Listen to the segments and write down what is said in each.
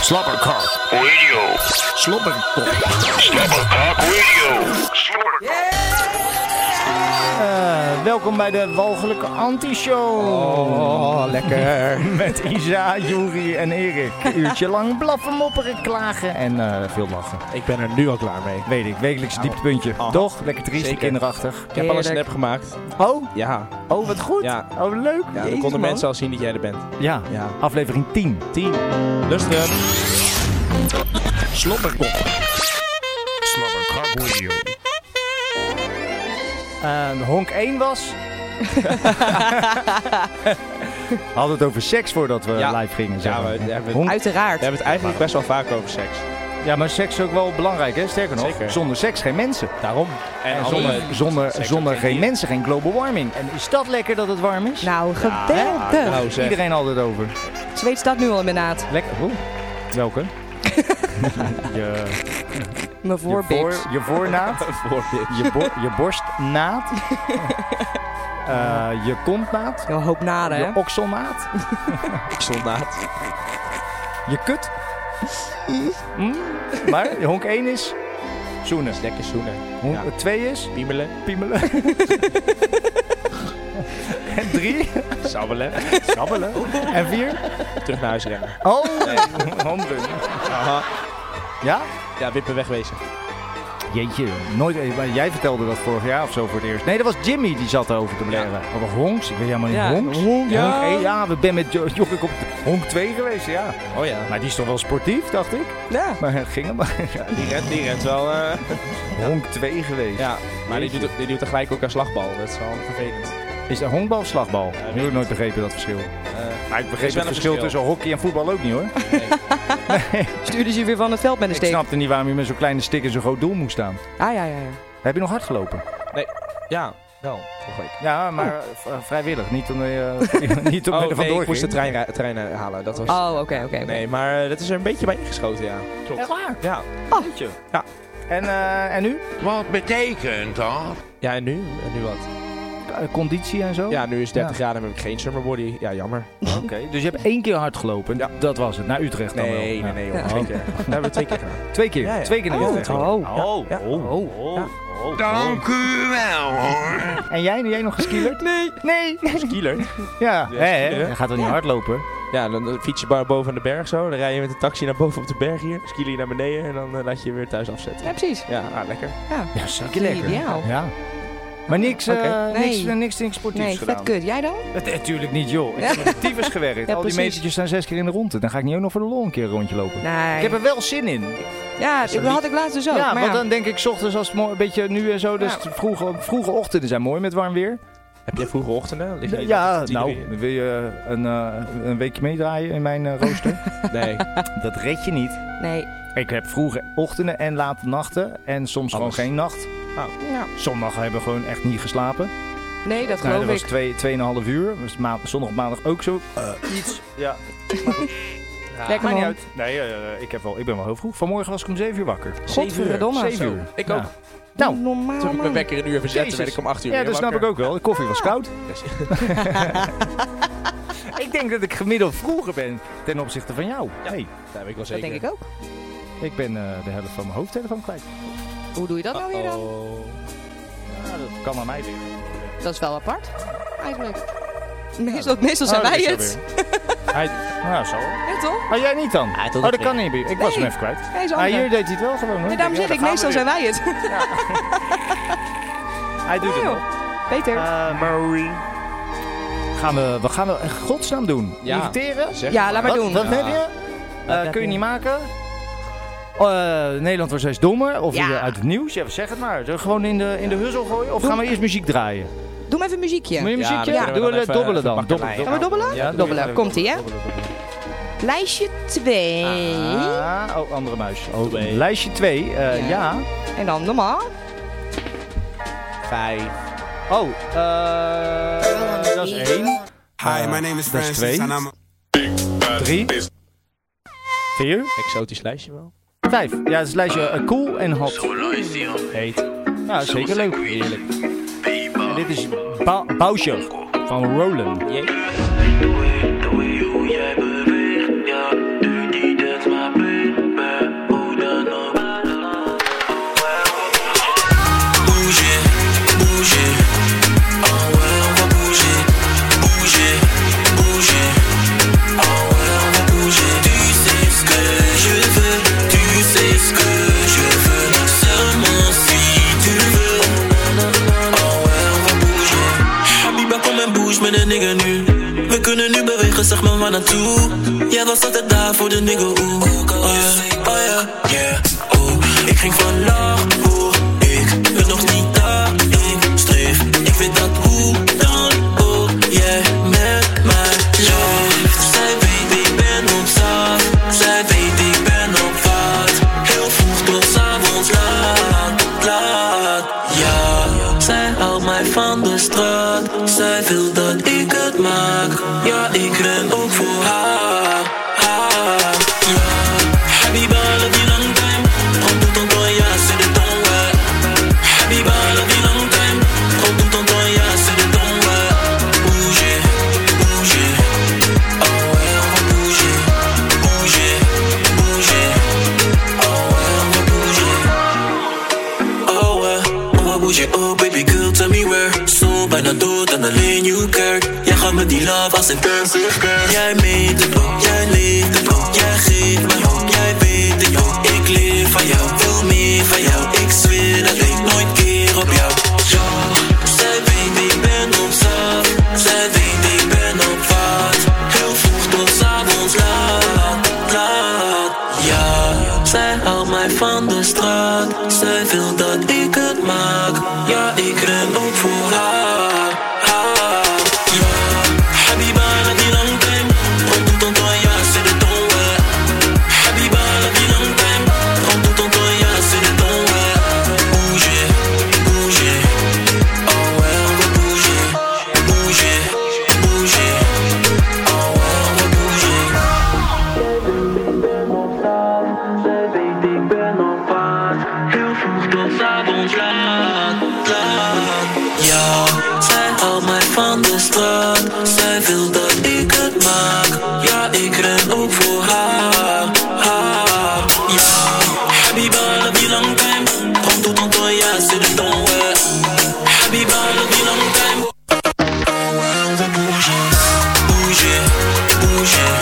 Slobberkok Radio. Slobberkok. Slobberkok Radio. Slobberkok. Eh, welkom bij de Walgelijke Anti-Show. Oh, lekker. Met Isa, Juri en Erik. Uurtje lang blaffen, mopperen, klagen en eh, veel lachen. Ik ben er nu al klaar mee. Weet ik, wekelijks dieptepuntje. Aha. Toch? Lekker triest en Zeker. kinderachtig. Ik heb al een snap gemaakt. Oh, Ja, oh, wat goed. Ja. Oh, leuk. ja dan Jezus, konden man. mensen al zien dat jij er bent. Ja. Ja. aflevering 10. 10. Lustig. Slobberkok. Slobberkok Radio. Eh, honk 1 was. Hadden het over seks voordat we Ja. live gingen. Ja, zeg maar. we- we hebben- Honk- We Uiteraard. hebben het eigenlijk best wel vaak over seks. ja, maar seks is ook wel belangrijk, hè? Sterker nog, Zeker. zonder seks geen mensen. Daarom. En, En alle- zonder, zonder, seks zonder ook geen niet. mensen, geen global warming. En is dat lekker dat het warm is? Nou, Ja, geweldig. nou zeg. Iedereen had het over. Zweed staat nu al in mijn naad. Lekker. Oeh. Welke? je, Mijn je, voorbibs. je voornaad. Voor dit. Je, bo- je borstnaad. Eh, je kontnaad. Een hoop naden, Je hè? okselnaad. Soldaat. Je kut. Mm. Maar honk 1 is zoenen. Lekker zoenen. Ja. Honk 2 is Piemelen. piemelen. en 3 Sabbelen. krabbelen. En 4 Terug naar huis rennen. oh, handen. Aha. Ja? Ja, wippen wegwezen. Jeetje, nooit, maar jij vertelde dat vorig jaar of zo voor het eerst. Nee, dat was Jimmy die zat erover te blaren. Over honks, ik weet helemaal niet, Ja, honks? Honk, ja. één, ja, we ben met Jo- Jorik op honk 2 geweest, ja. Oh ja. Maar die is toch wel sportief, dacht ik. Ja. Maar het ging hem maar. Ja, Die rent, die rent wel. eh, honk 2 geweest. ja, maar die doet, die doet tegelijk ook een slagbal. Dat is wel vervelend. Eh, Is dat honkbal of slagbal? weet ik heb niet. nooit begrepen dat verschil. Eh, Maar ik wel begreep een het verschil verschil. tussen hockey en voetbal ook niet hoor. Stuurde ze je weer van het veld met een Ik steek. snapte niet waarom je met zo'n kleine stick in zo'n groot doel moest staan. Ah, ja, ja, ja. Heb je nog hard gelopen? ja, Oh, wel. Vorige week. Ja, maar eh, v- eh, vrijwillig. Niet om, eh, niet om Oh, je er nee, vandoor ik moest ging. de trein, ra- trein eh, halen. Dat was... Oh, oké, oké. oké. Nee, maar eh, dat is er een beetje bij ingeschoten, ja. Echt waar? Ja. Oh. En, eh, en nu? Wat betekent dat? Ja, en nu? En nu wat? Eh, Conditie en zo? Ja, nu is 30 Ja. graden en heb ik geen summerbody. Ja, jammer. Oké. Dus je hebt één keer hard gelopen. Ja. Dat was het. Naar Utrecht dan wel. Ja. Oh. joh. Ja. Twee keer. Dat hebben we twee keer gedaan. Twee keer. Ja, ja. Twee keer naar Oh, Utrecht. oh. Oh. Ja. oh, oh, Ja. oh. Dank u wel hoor. En jij? Jij nog geskielerd? Nee. Nee. Kieler. Ja. Ja, hè, hè? skieleren. Je gaat toch niet hardlopen? Ja, dan eh, fiets je maar boven aan de berg zo. Dan rij je met een taxi naar boven op de berg hier. Skiel je naar beneden en dan eh, laat je je weer thuis afzetten. Ja, precies. Ja, ah, lekker. Ja, zeker Klinkt lekker. ideaal. Ja. Maar niks, eh, Oké. niks, Nee. eh, niks, niks sportiefs Nee, vet gedaan. kut. Jij dan? Natuurlijk niet, joh. Ik Ja. heb tyfus gewerkt. Al Ja, die precies. metertjes staan zes keer in de ronde. Dan ga ik niet ook nog voor de lol een keer een rondje lopen. Nee. Ik heb er wel zin in. Ja, dat had ik laatst dus ook. ja, maar want dan denk ik, 's ochtends als het mooi- een beetje nu en zo. Dus Ja. vroege, vroege ochtenden zijn mooi met warm weer. Heb jij vroege ochtenden? Lig je niet Ja, tot tien nou, uur? wil je een, eh, een weekje meedraaien in mijn eh, rooster? Nee. dat red je niet. Nee. Ik heb vroege ochtenden en late nachten. En soms Alles. gewoon geen nacht. Ja. Sommigen hebben gewoon echt niet geslapen. Nee, dat Nou, geloof dat was ik. twee, tweeënhalf uur. Was ma- zondag maandag ook zo. Eh, iets. Ja. Lekker Maakt niet man. uit. Nee, eh, ik, heb wel, ik ben wel heel vroeg. Vanmorgen was ik om 7 uur wakker. Godverdomme. Zeven zo. uur. Ik Ja. ook. Nou, Normaal Toen heb ik mijn man. wekker een uur verzetten, Jezus. werd ik om 8 uur ja, weer dat snap ik wakker. ook wel. De koffie was koud. Yes. ik denk dat ik gemiddeld vroeger ben ten opzichte van jou. Nee, Dat heb ik wel Dat zeker. denk ik ook. ik ben eh, de helft van mijn hoofdtelefoon kwijt. Hoe doe je dat nou weer dan? Oh. Ja, dat kan aan mij liggen. Dat is wel apart. Eigenlijk. Meestal, meestal Oh, zijn wij het. Hij, nou, zo. Ja, toch? Maar jij niet dan? oh, tot op dat drie. kan niet meer. Ik was hem Nee. even kwijt. Hij is Ah, anders. hier deed hij het wel gewoon. Hoor. Nee, daarom Ja, zeg ik, daar gaan meestal we zijn wij het. weer. Hij doet het wel. Oh, Peter. Eh, Gaan we, we gaan we in godsnaam doen. Ja. Irriteren? Zeg ja, laat maar Wat, doen. wat Ja. heb je? Eh, kun je niet maken? Eh, Nederland wordt steeds dommer. Of Ja. in de- uit het nieuws. Ja, zeg het maar. Zullen we gewoon in de, in de huzzel gooien? Of gaan we eerst muziek draaien? Doe maar even muziekje. Moet je Ja, muziekje? dan Doen eh, kunnen we dan de even- dobbelen dan. even Dobbelen. bakkeleien. Gaan we dobbelen? Ja, Dobbelen. Komt-ie, hè? Lijstje 2. Ah, oh, andere muis. Oh, Twee. Lijstje 2. Ja. Ah, ja. En dan normaal. Vijf. Oh, eh, dat is 1. Hi, my name is dat is Francis twee. and I'm a 3. 4. Exotisch lijstje wel. 5. Ja, dat is lijstje eh, cool en hot. Heet. Ja, zeker leuk. En dit is ba Boucher van Roland. De way hoe jij beweegt, ja, doe die dat maar baby, hoe dan ook. Bouger, bouger, oh ouais, on va bouger. Bouger, bouger, oh ouais, on va bouger. Tu sais ce que je veux, tu sais ce que je veux, seulement si tu veux. Oh ouais, on va bouger. Habiba, kom en bouge met de nigger nu. We kunnen nu bewegen, zeg maar waar naartoe. Jij was altijd daar voor de nigger, oeh. Oh ja, oh ja, yeah, oeh. Ik ging van laag voor, ik ben nog niet daar. Ik streef, ik weet dat hoe dan ook. Jij met mij leeft. Zij weet ik ben op zaad, zij weet ik ben op vaart. Heel vroeg tot 's avonds laat, laat, ja. Zij houdt mij van de straat, zij wil dat ik het maak. Ja, ik ren ook voor haar. haar, ja. Habiba, love you long time. Prends tout ton temps, ja, c'est de ton ouais. Habiba, love you long time. Prends tout ton temps, ja, c'est de ton ouais. Bouger, bouger. Oh ouais, on va bouger. Bouger, bouger. Oh ouais, on va bouger. Oh ouais, on va bouger, oh baby girl, tell me where Zo bijna dood en alleen you kerk Jij gaat me die love als een cursive girl Jij meet het ook, jij leeft het ook Jij geeft mij hoop, jij weet het ook Ik leef van jou, wil meer van jou Ik zweer dat ik nooit keer op jou Ja, zij weet ik ben op zaad Zij weet ik ben op vaart Heel vroeg tot 's avonds laat, laat Ja, zij houdt mij van de straat. Zij wil dat ik het maak. Ja, ik ren ook voor haar. haar. Ja, Habiba, laat die lang time. Prends tout ton temps, ja, c'est de ton ouais. Habiba, laat die lang time. Prends tout ton temps, ja, c'est de ton ouais. Bouger, bouger. Oh ouais, on va bouger. Bouger, bouger. Oh ouais, on va bouger. Zij weet ik ben op pad, heel vroeg tot 's avonds laat, laat. Ja, zij houdt mij van de straat, zij wil dat ik het maak. Ja, ik ren ook voor haar, haar. Ja, Habiba, love you long time, prends tout ton temps, ja, c'est le temps, ouais. Habiba, love you long time. Oh ouais, on va bouger, bouger, bouger.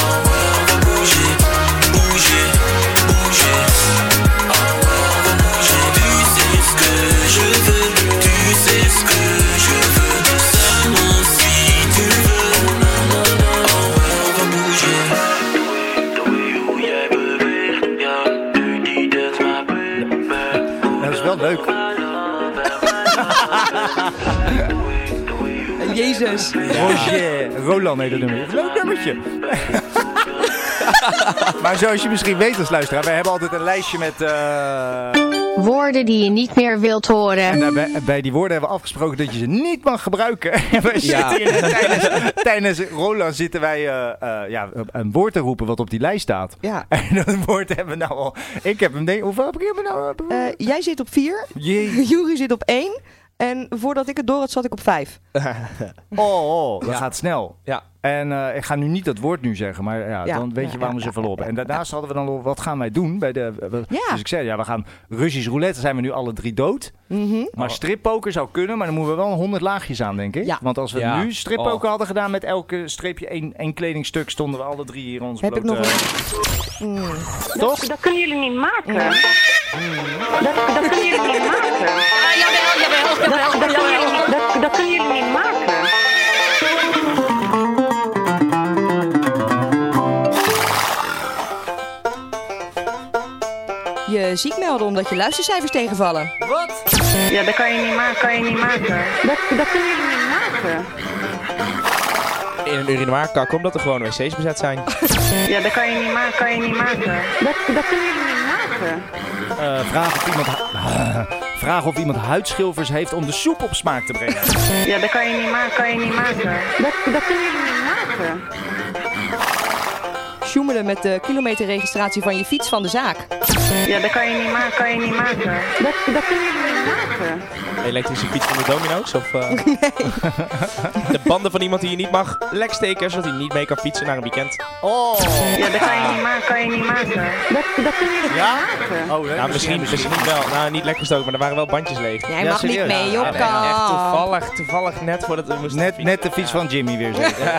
Oh ouais, on va bouger, bouger, bouger. Oh ouais, on va bouger. Tu sais ce que je veux, tu sais ce que je veux. Seulement si tu veux. Oh ouais, on va bouger. Doe jij beweegt, ja, doe die dat maar. Dat is wel leuk. Jezus. Roger, Roland heet het nummer. Leuk nummertje. maar zoals je misschien weet als luisteraar, wij hebben altijd een lijstje met... eh, Woorden die je niet meer wilt horen. En daar bij, bij die woorden hebben we afgesproken dat je ze niet mag gebruiken. En wij zitten hier net tijdens, tijdens Roland zitten wij eh, eh, ja, een woord te roepen wat op die lijst staat. Ja. En dat woord hebben we nou al... Ik heb hem... Nee, hoeveel heb ik hem nou? Eh, jij zit op vier. Jee. Jury zit op één. En voordat ik het door had, zat ik op vijf. Oh, oh, dat gaat snel. Ja. En eh, ik ga nu niet dat woord nu zeggen, maar ja, Ja, dan weet je ja, waarom ja, ze verloren. En daarnaast hadden we dan al, wat gaan wij doen? Bij de, we- Ja. Dus ik zei, ja, we gaan Russisch roulette, zijn we nu alle drie dood. Mhm. Maar strippoker zou kunnen, maar dan moeten we wel 100 laagjes aan, denk ik. Ja. Want als we Ja. nu strippoker Oh. hadden gedaan met elke streepje één, één kledingstuk, stonden we alle drie hier in ons Heb ik blote- nog Toch? Dat kunnen jullie niet maken. Dat, dat kunnen jullie niet maken. Dat, dat, kunnen jullie, niet- dat, dat kunnen jullie niet maken. je ziek melden omdat je luistercijfers tegenvallen. Ja, dat kan je niet maken. Kan je niet maken. Dat, dat kunnen jullie niet maken. In een urinoir kak, omdat er gewoon wc's bezet zijn. Ja, dat kan je niet maken. Kan je niet maken. Dat, dat kunnen jullie niet maken. Eh, vraag, of iemand, vraag of iemand huidschilfers heeft om de soep op smaak te brengen. Ja, dat kan je niet maken. Kan je niet maken. Dat, dat kunnen jullie niet maken. Sjoemelen met de kilometerregistratie van je fiets van de zaak. Ja, dat kan je niet maken. Kan je niet maken. Dat, dat kunnen jullie niet maken? Elektrische fiets van de domino's? Of eh, de banden van iemand die je niet mag lekstekers, zodat hij niet mee kan fietsen naar een weekend? Ja, dat kan je niet maken. Kan je niet maken. Dat, dat kun je Ja? niet maken. Oh, nee, Nou, misschien, misschien wel. Nou, niet lekkerstoken, maar er waren wel bandjes leeg. Jij Ja, mag niet serieus? mee, Ja, Jokka. Echt toevallig, toevallig net voordat we moesten Net, fietsen. net de fiets van Jimmy weer zeker.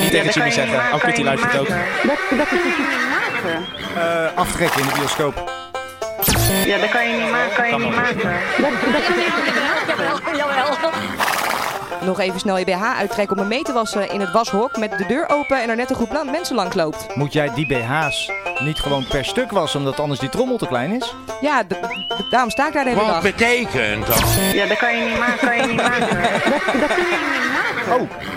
Niet tegen Jimmy zeggen. Oh, kut, die luistert ook. Dat, dat kun je niet maken. Eh, aftrekken in de bioscoop. Ja, dat kan je niet maken. Kan je niet maken. Dat, dat kun je niet Nog even snel je BH uittrekken om hem mee te wassen in het washok met de deur open en er net een groep la- mensen langs loopt. Moet jij die BH's niet gewoon per stuk wassen, omdat anders die trommel te klein is? Ja, d- d- daarom sta ik daar de hele Wat dag. betekent dat? Ja, dat kan je niet maken. Kan je niet maken. Dat, dat kun je niet maken.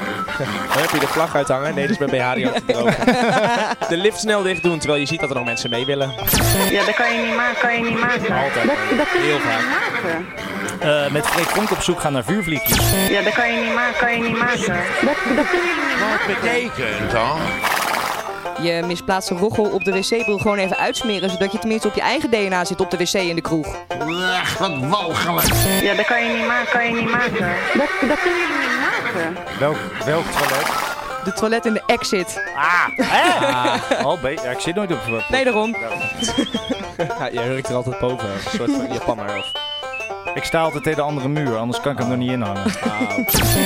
Dan heb je de vlag uithangen. Nee, dat is mijn BH die had het De lift snel dicht doen, terwijl je ziet dat er nog mensen mee willen. Ja, dat kan je niet maken. Kan je niet maken. Altijd. Dat, dat kun je Heel niet vaak. maken. Eh, met Freek Vonk op zoek gaan naar vuurvliegjes. Ja, dat kan je niet maken. Kan je niet maken. Dat, dat kun je niet Wat maken. betekent dat? Je misplaatste roggel op de wc-bril gewoon even uitsmeren, zodat je tenminste op je eigen DNA zit op de wc in de kroeg. Ach, wat walgelijk. Ja, dat kan je niet maken. Kan je niet maken. Dat, dat kun je niet maken. Welk, welk toilet? De toilet in de exit. Ah, hè? Oh, be- ja, ik zit nooit op wat. Nee, daarom. Ja, je hurkt er altijd boven. Een soort van Japanner of... Ah. Ik sta altijd tegen de andere muur, anders kan ik hem er niet in hangen.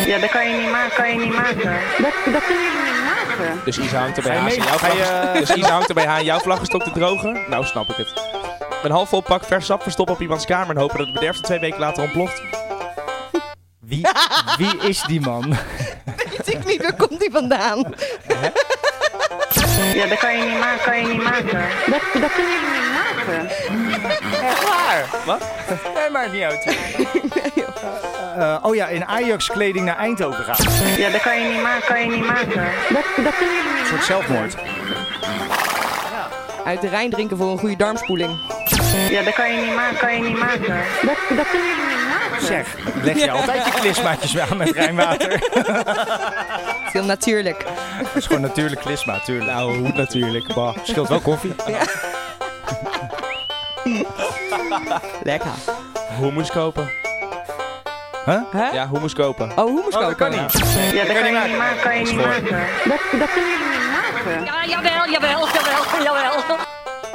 Ja, dat kan je niet maken. Kan je niet maken. Dat, dat kun je niet maken. Dus Isa hangt er Ga bij je haar. mee? Jouw Ga je, vlag- eh, Dus Isa hangt er bij haar. en Jouw vlag is op te drogen. Nou, snap ik het. Een half vol pak vers sap verstoppen op iemands kamer en hopen dat het bederf er twee weken later ontploft. Wie, wie is die man? Weet ik niet, waar komt die vandaan? Ja, dat kan je niet maken. Kan je niet maken. Dat, dat kun je niet maken. Nee, maakt niet uit. oh ja, in Ajax-kleding naar Eindhoven gaan. Een Ja, dat kan je niet maken. Kan je niet maken. Dat, dat kun je niet Ah. soort maken. zelfmoord. Uit de Rijn drinken voor een goede darmspoeling. Ja, dat kan je niet maken. Kan je niet maken. Dat, dat kun je niet maken. Zeg, leg je altijd je klismaatjes aan met Rijnwater? Veel natuurlijk. Dat is gewoon natuurlijk klisma, tuurlijk. Nou, hoe natuurlijk. Bah. scheelt wel koffie. Lekker. Hummus kopen. Hè? Ja, hummus kopen. Oh, hoe moest Oh, dat ook kan kunnen? niet. Ja, dat Kan kan je je niet niet maken. Kan je niet maken. Dat, dat kun je niet maken.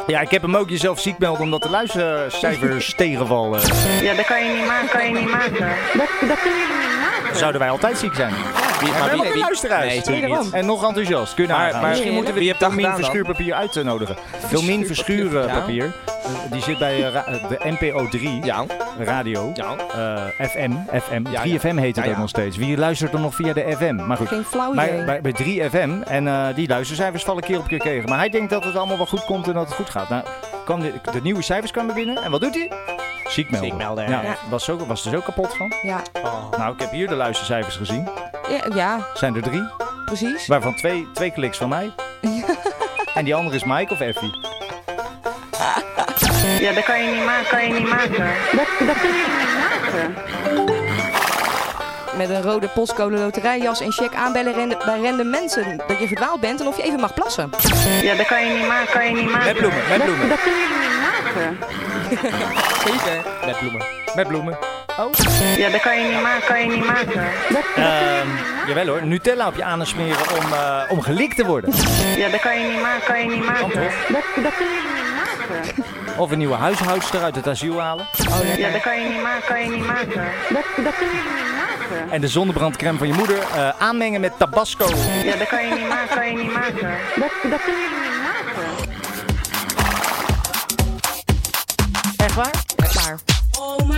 Ja, ik heb hem ook jezelf ziek melden omdat de luistercijfers tegenvallen. Ja, dat kan je niet maken. Kan je niet maken. Dat, dat kun je niet maken. Zouden wij altijd ziek zijn? Wie, Maar helemaal geen luisteraars. Nee, natuurlijk niet. En nog enthousiast. Kun je Maar- maar, maar- Misschien moeten we Wie die hebt dat Filmin gedaan dan? verschuurpapier uit te nodigen. Filmin verschuurpapier. eh, Die zit bij eh, ra- eh, de NPO3 Ja, radio. ja. eh, FM. FM. Ja, 3FM heet het Ja, ja. ook nog steeds. Wie luistert dan nog via de FM? Maar goed. Geen flauw Bij, idee. bij, bij 3FM en eh, die luistercijfers vallen keer op keer tegen. Maar hij denkt dat het allemaal wel goed komt en dat het goed gaat. Nou, kwam de, de nieuwe cijfers kwamen binnen en wat doet hij? Ziek melden. Ziek melden. Ja, was, zo, was er zo kapot van. Ja. Nou, ik heb hier de luistercijfers gezien. Ja, ja, Zijn er drie, precies. waarvan twee, twee kliks van mij. En die andere is Mike of Effie. Ja, dat kan je niet maken. Kan je niet maken. Dat, dat kun je niet maken. Met een rode postcode loterijjas en check aanbellen rende- bij rende mensen dat je verdwaald bent en of je even mag plassen. Ja, dat kan je niet maken. Kan je niet maken. Met bloemen, met Dat- bloemen. Dat kun je niet maken. Zeker. Met bloemen. Met bloemen. Ja, dat kan je niet maken. Kan je niet maken. Dat, Ehm, jawel hoor, Nutella op je aan smeren om, eh, om gelikt te worden. ja, dat kan je niet maken. Kan je niet maken. Dat, dat kun je niet maken. Of een nieuwe huishoudster uit het asiel halen. Oh, Ja, dat kan je niet maken, kan je niet maken. Dat, dat kun je niet maken. En de zonnebrandcrème van je moeder eh, aanmengen met tabasco. Ja, dat kan je niet maken, kan je niet maken. Dat, dat kun je niet maken. Echt waar? Echt waar. Oh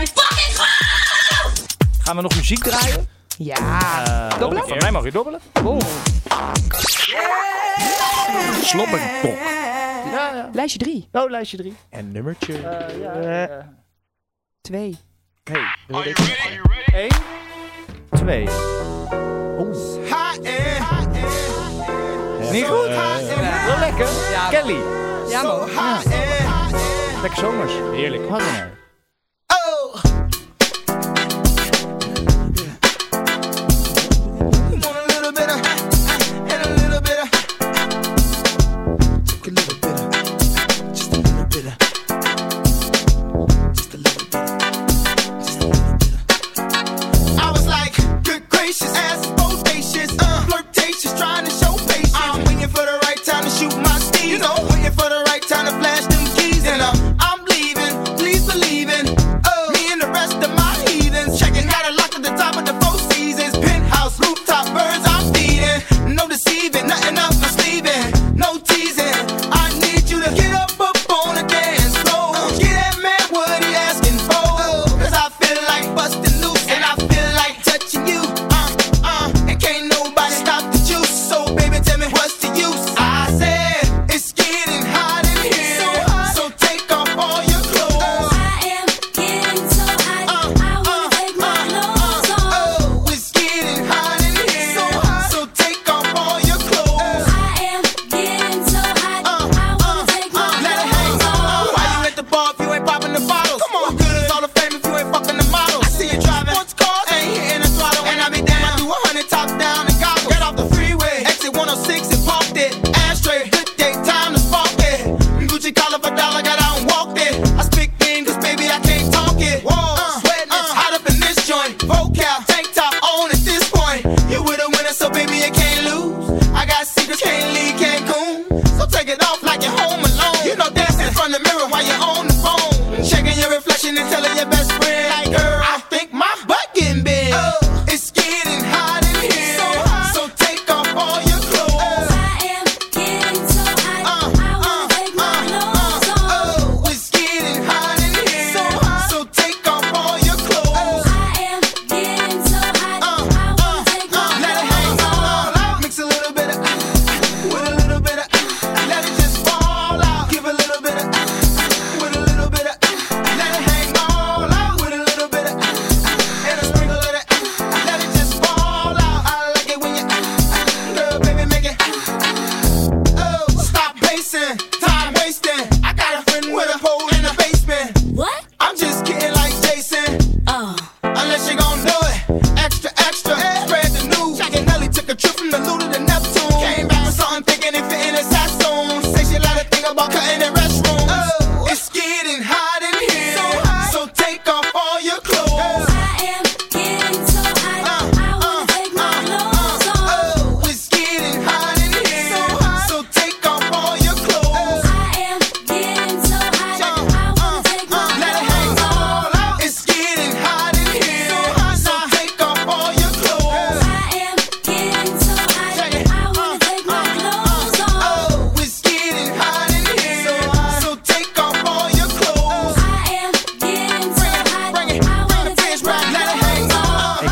Gaan we nog muziek draaien? Ja. Dobbelen? Van mij mag je dobbelen. Oh. Boom. Slobberkok. Lijstje 3. Oh, lijstje 3. En nummertje. Eh, 2. Twee. Niet goed? Wel lekker. Kelly. E. Ja, man. Lekker zomers. Heerlijk. Wat een er. Just a little bit of, just a little bit of, just a little uh, uh,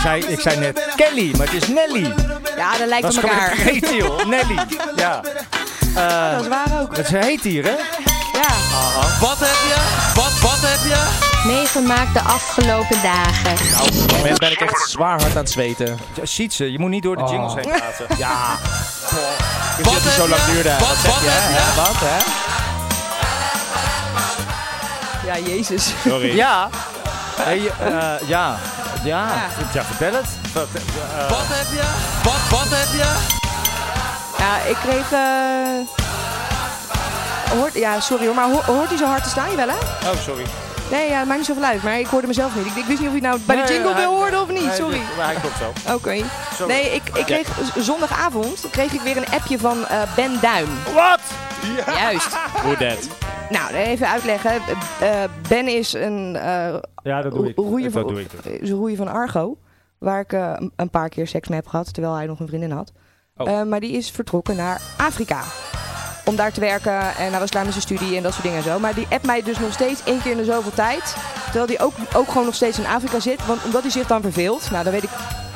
zei, ik zei net Kelly, maar het is Nelly. Ja, dat lijkt Dat op is gewoon elkaar. vergeten, joh. Nelly. Ja. Dat is waar ook. Ze heet hier, hè? Ja. Wat heb je? Wat, wat heb je? Meegemaakt de afgelopen dagen. Op het moment ben ik echt zwaar hard aan het zweten. Oh. Ja, Ziet ze, je moet niet door de jingles heen praten. Ja. Wat Wat het zo heb lang je? duurde. Wat- zeg wat je, heb je? hè? Wat, hè? Ja, jezus. Sorry. Ja. Hey, eh, ja. Ja. Ja, vertel het. Vert- Wat heb je? Wat, wat heb je? Ja, ik kreeg... eh Hoort, ja, sorry hoor, maar ho- hoort hij zo hard te staan? Je wel, hè? Oh, sorry. Nee, ja, het maakt niet zoveel uit, maar ik hoorde mezelf niet. Ik, ik wist niet of je nou bij de Nee, jingle hij- wil horen of niet, Nee, sorry. Oh. dit- Maar hij klopt wel. Oké. Nee, ik, ik kreeg z- zondagavond kreeg ik weer een appje van eh, Ben Duim. Wat? Juist. Hoe dat? Nou, even uitleggen. Eh, eh, ben is een eh, Ja, dat doe ik. Ro- roeien Dat van- doe ik. is een roeier van Argo. Waar ik eh, een- een paar keer seks mee heb gehad, terwijl hij nog een vriendin had. Oh. Eh, maar die is vertrokken naar Afrika. Om daar te werken en hij was klaar met zijn studie en dat soort dingen en zo. Maar die appt mij dus nog steeds één keer in de zoveel tijd. Terwijl die ook, ook gewoon nog steeds in Afrika zit. Want omdat hij zich dan verveelt, nou dan weet ik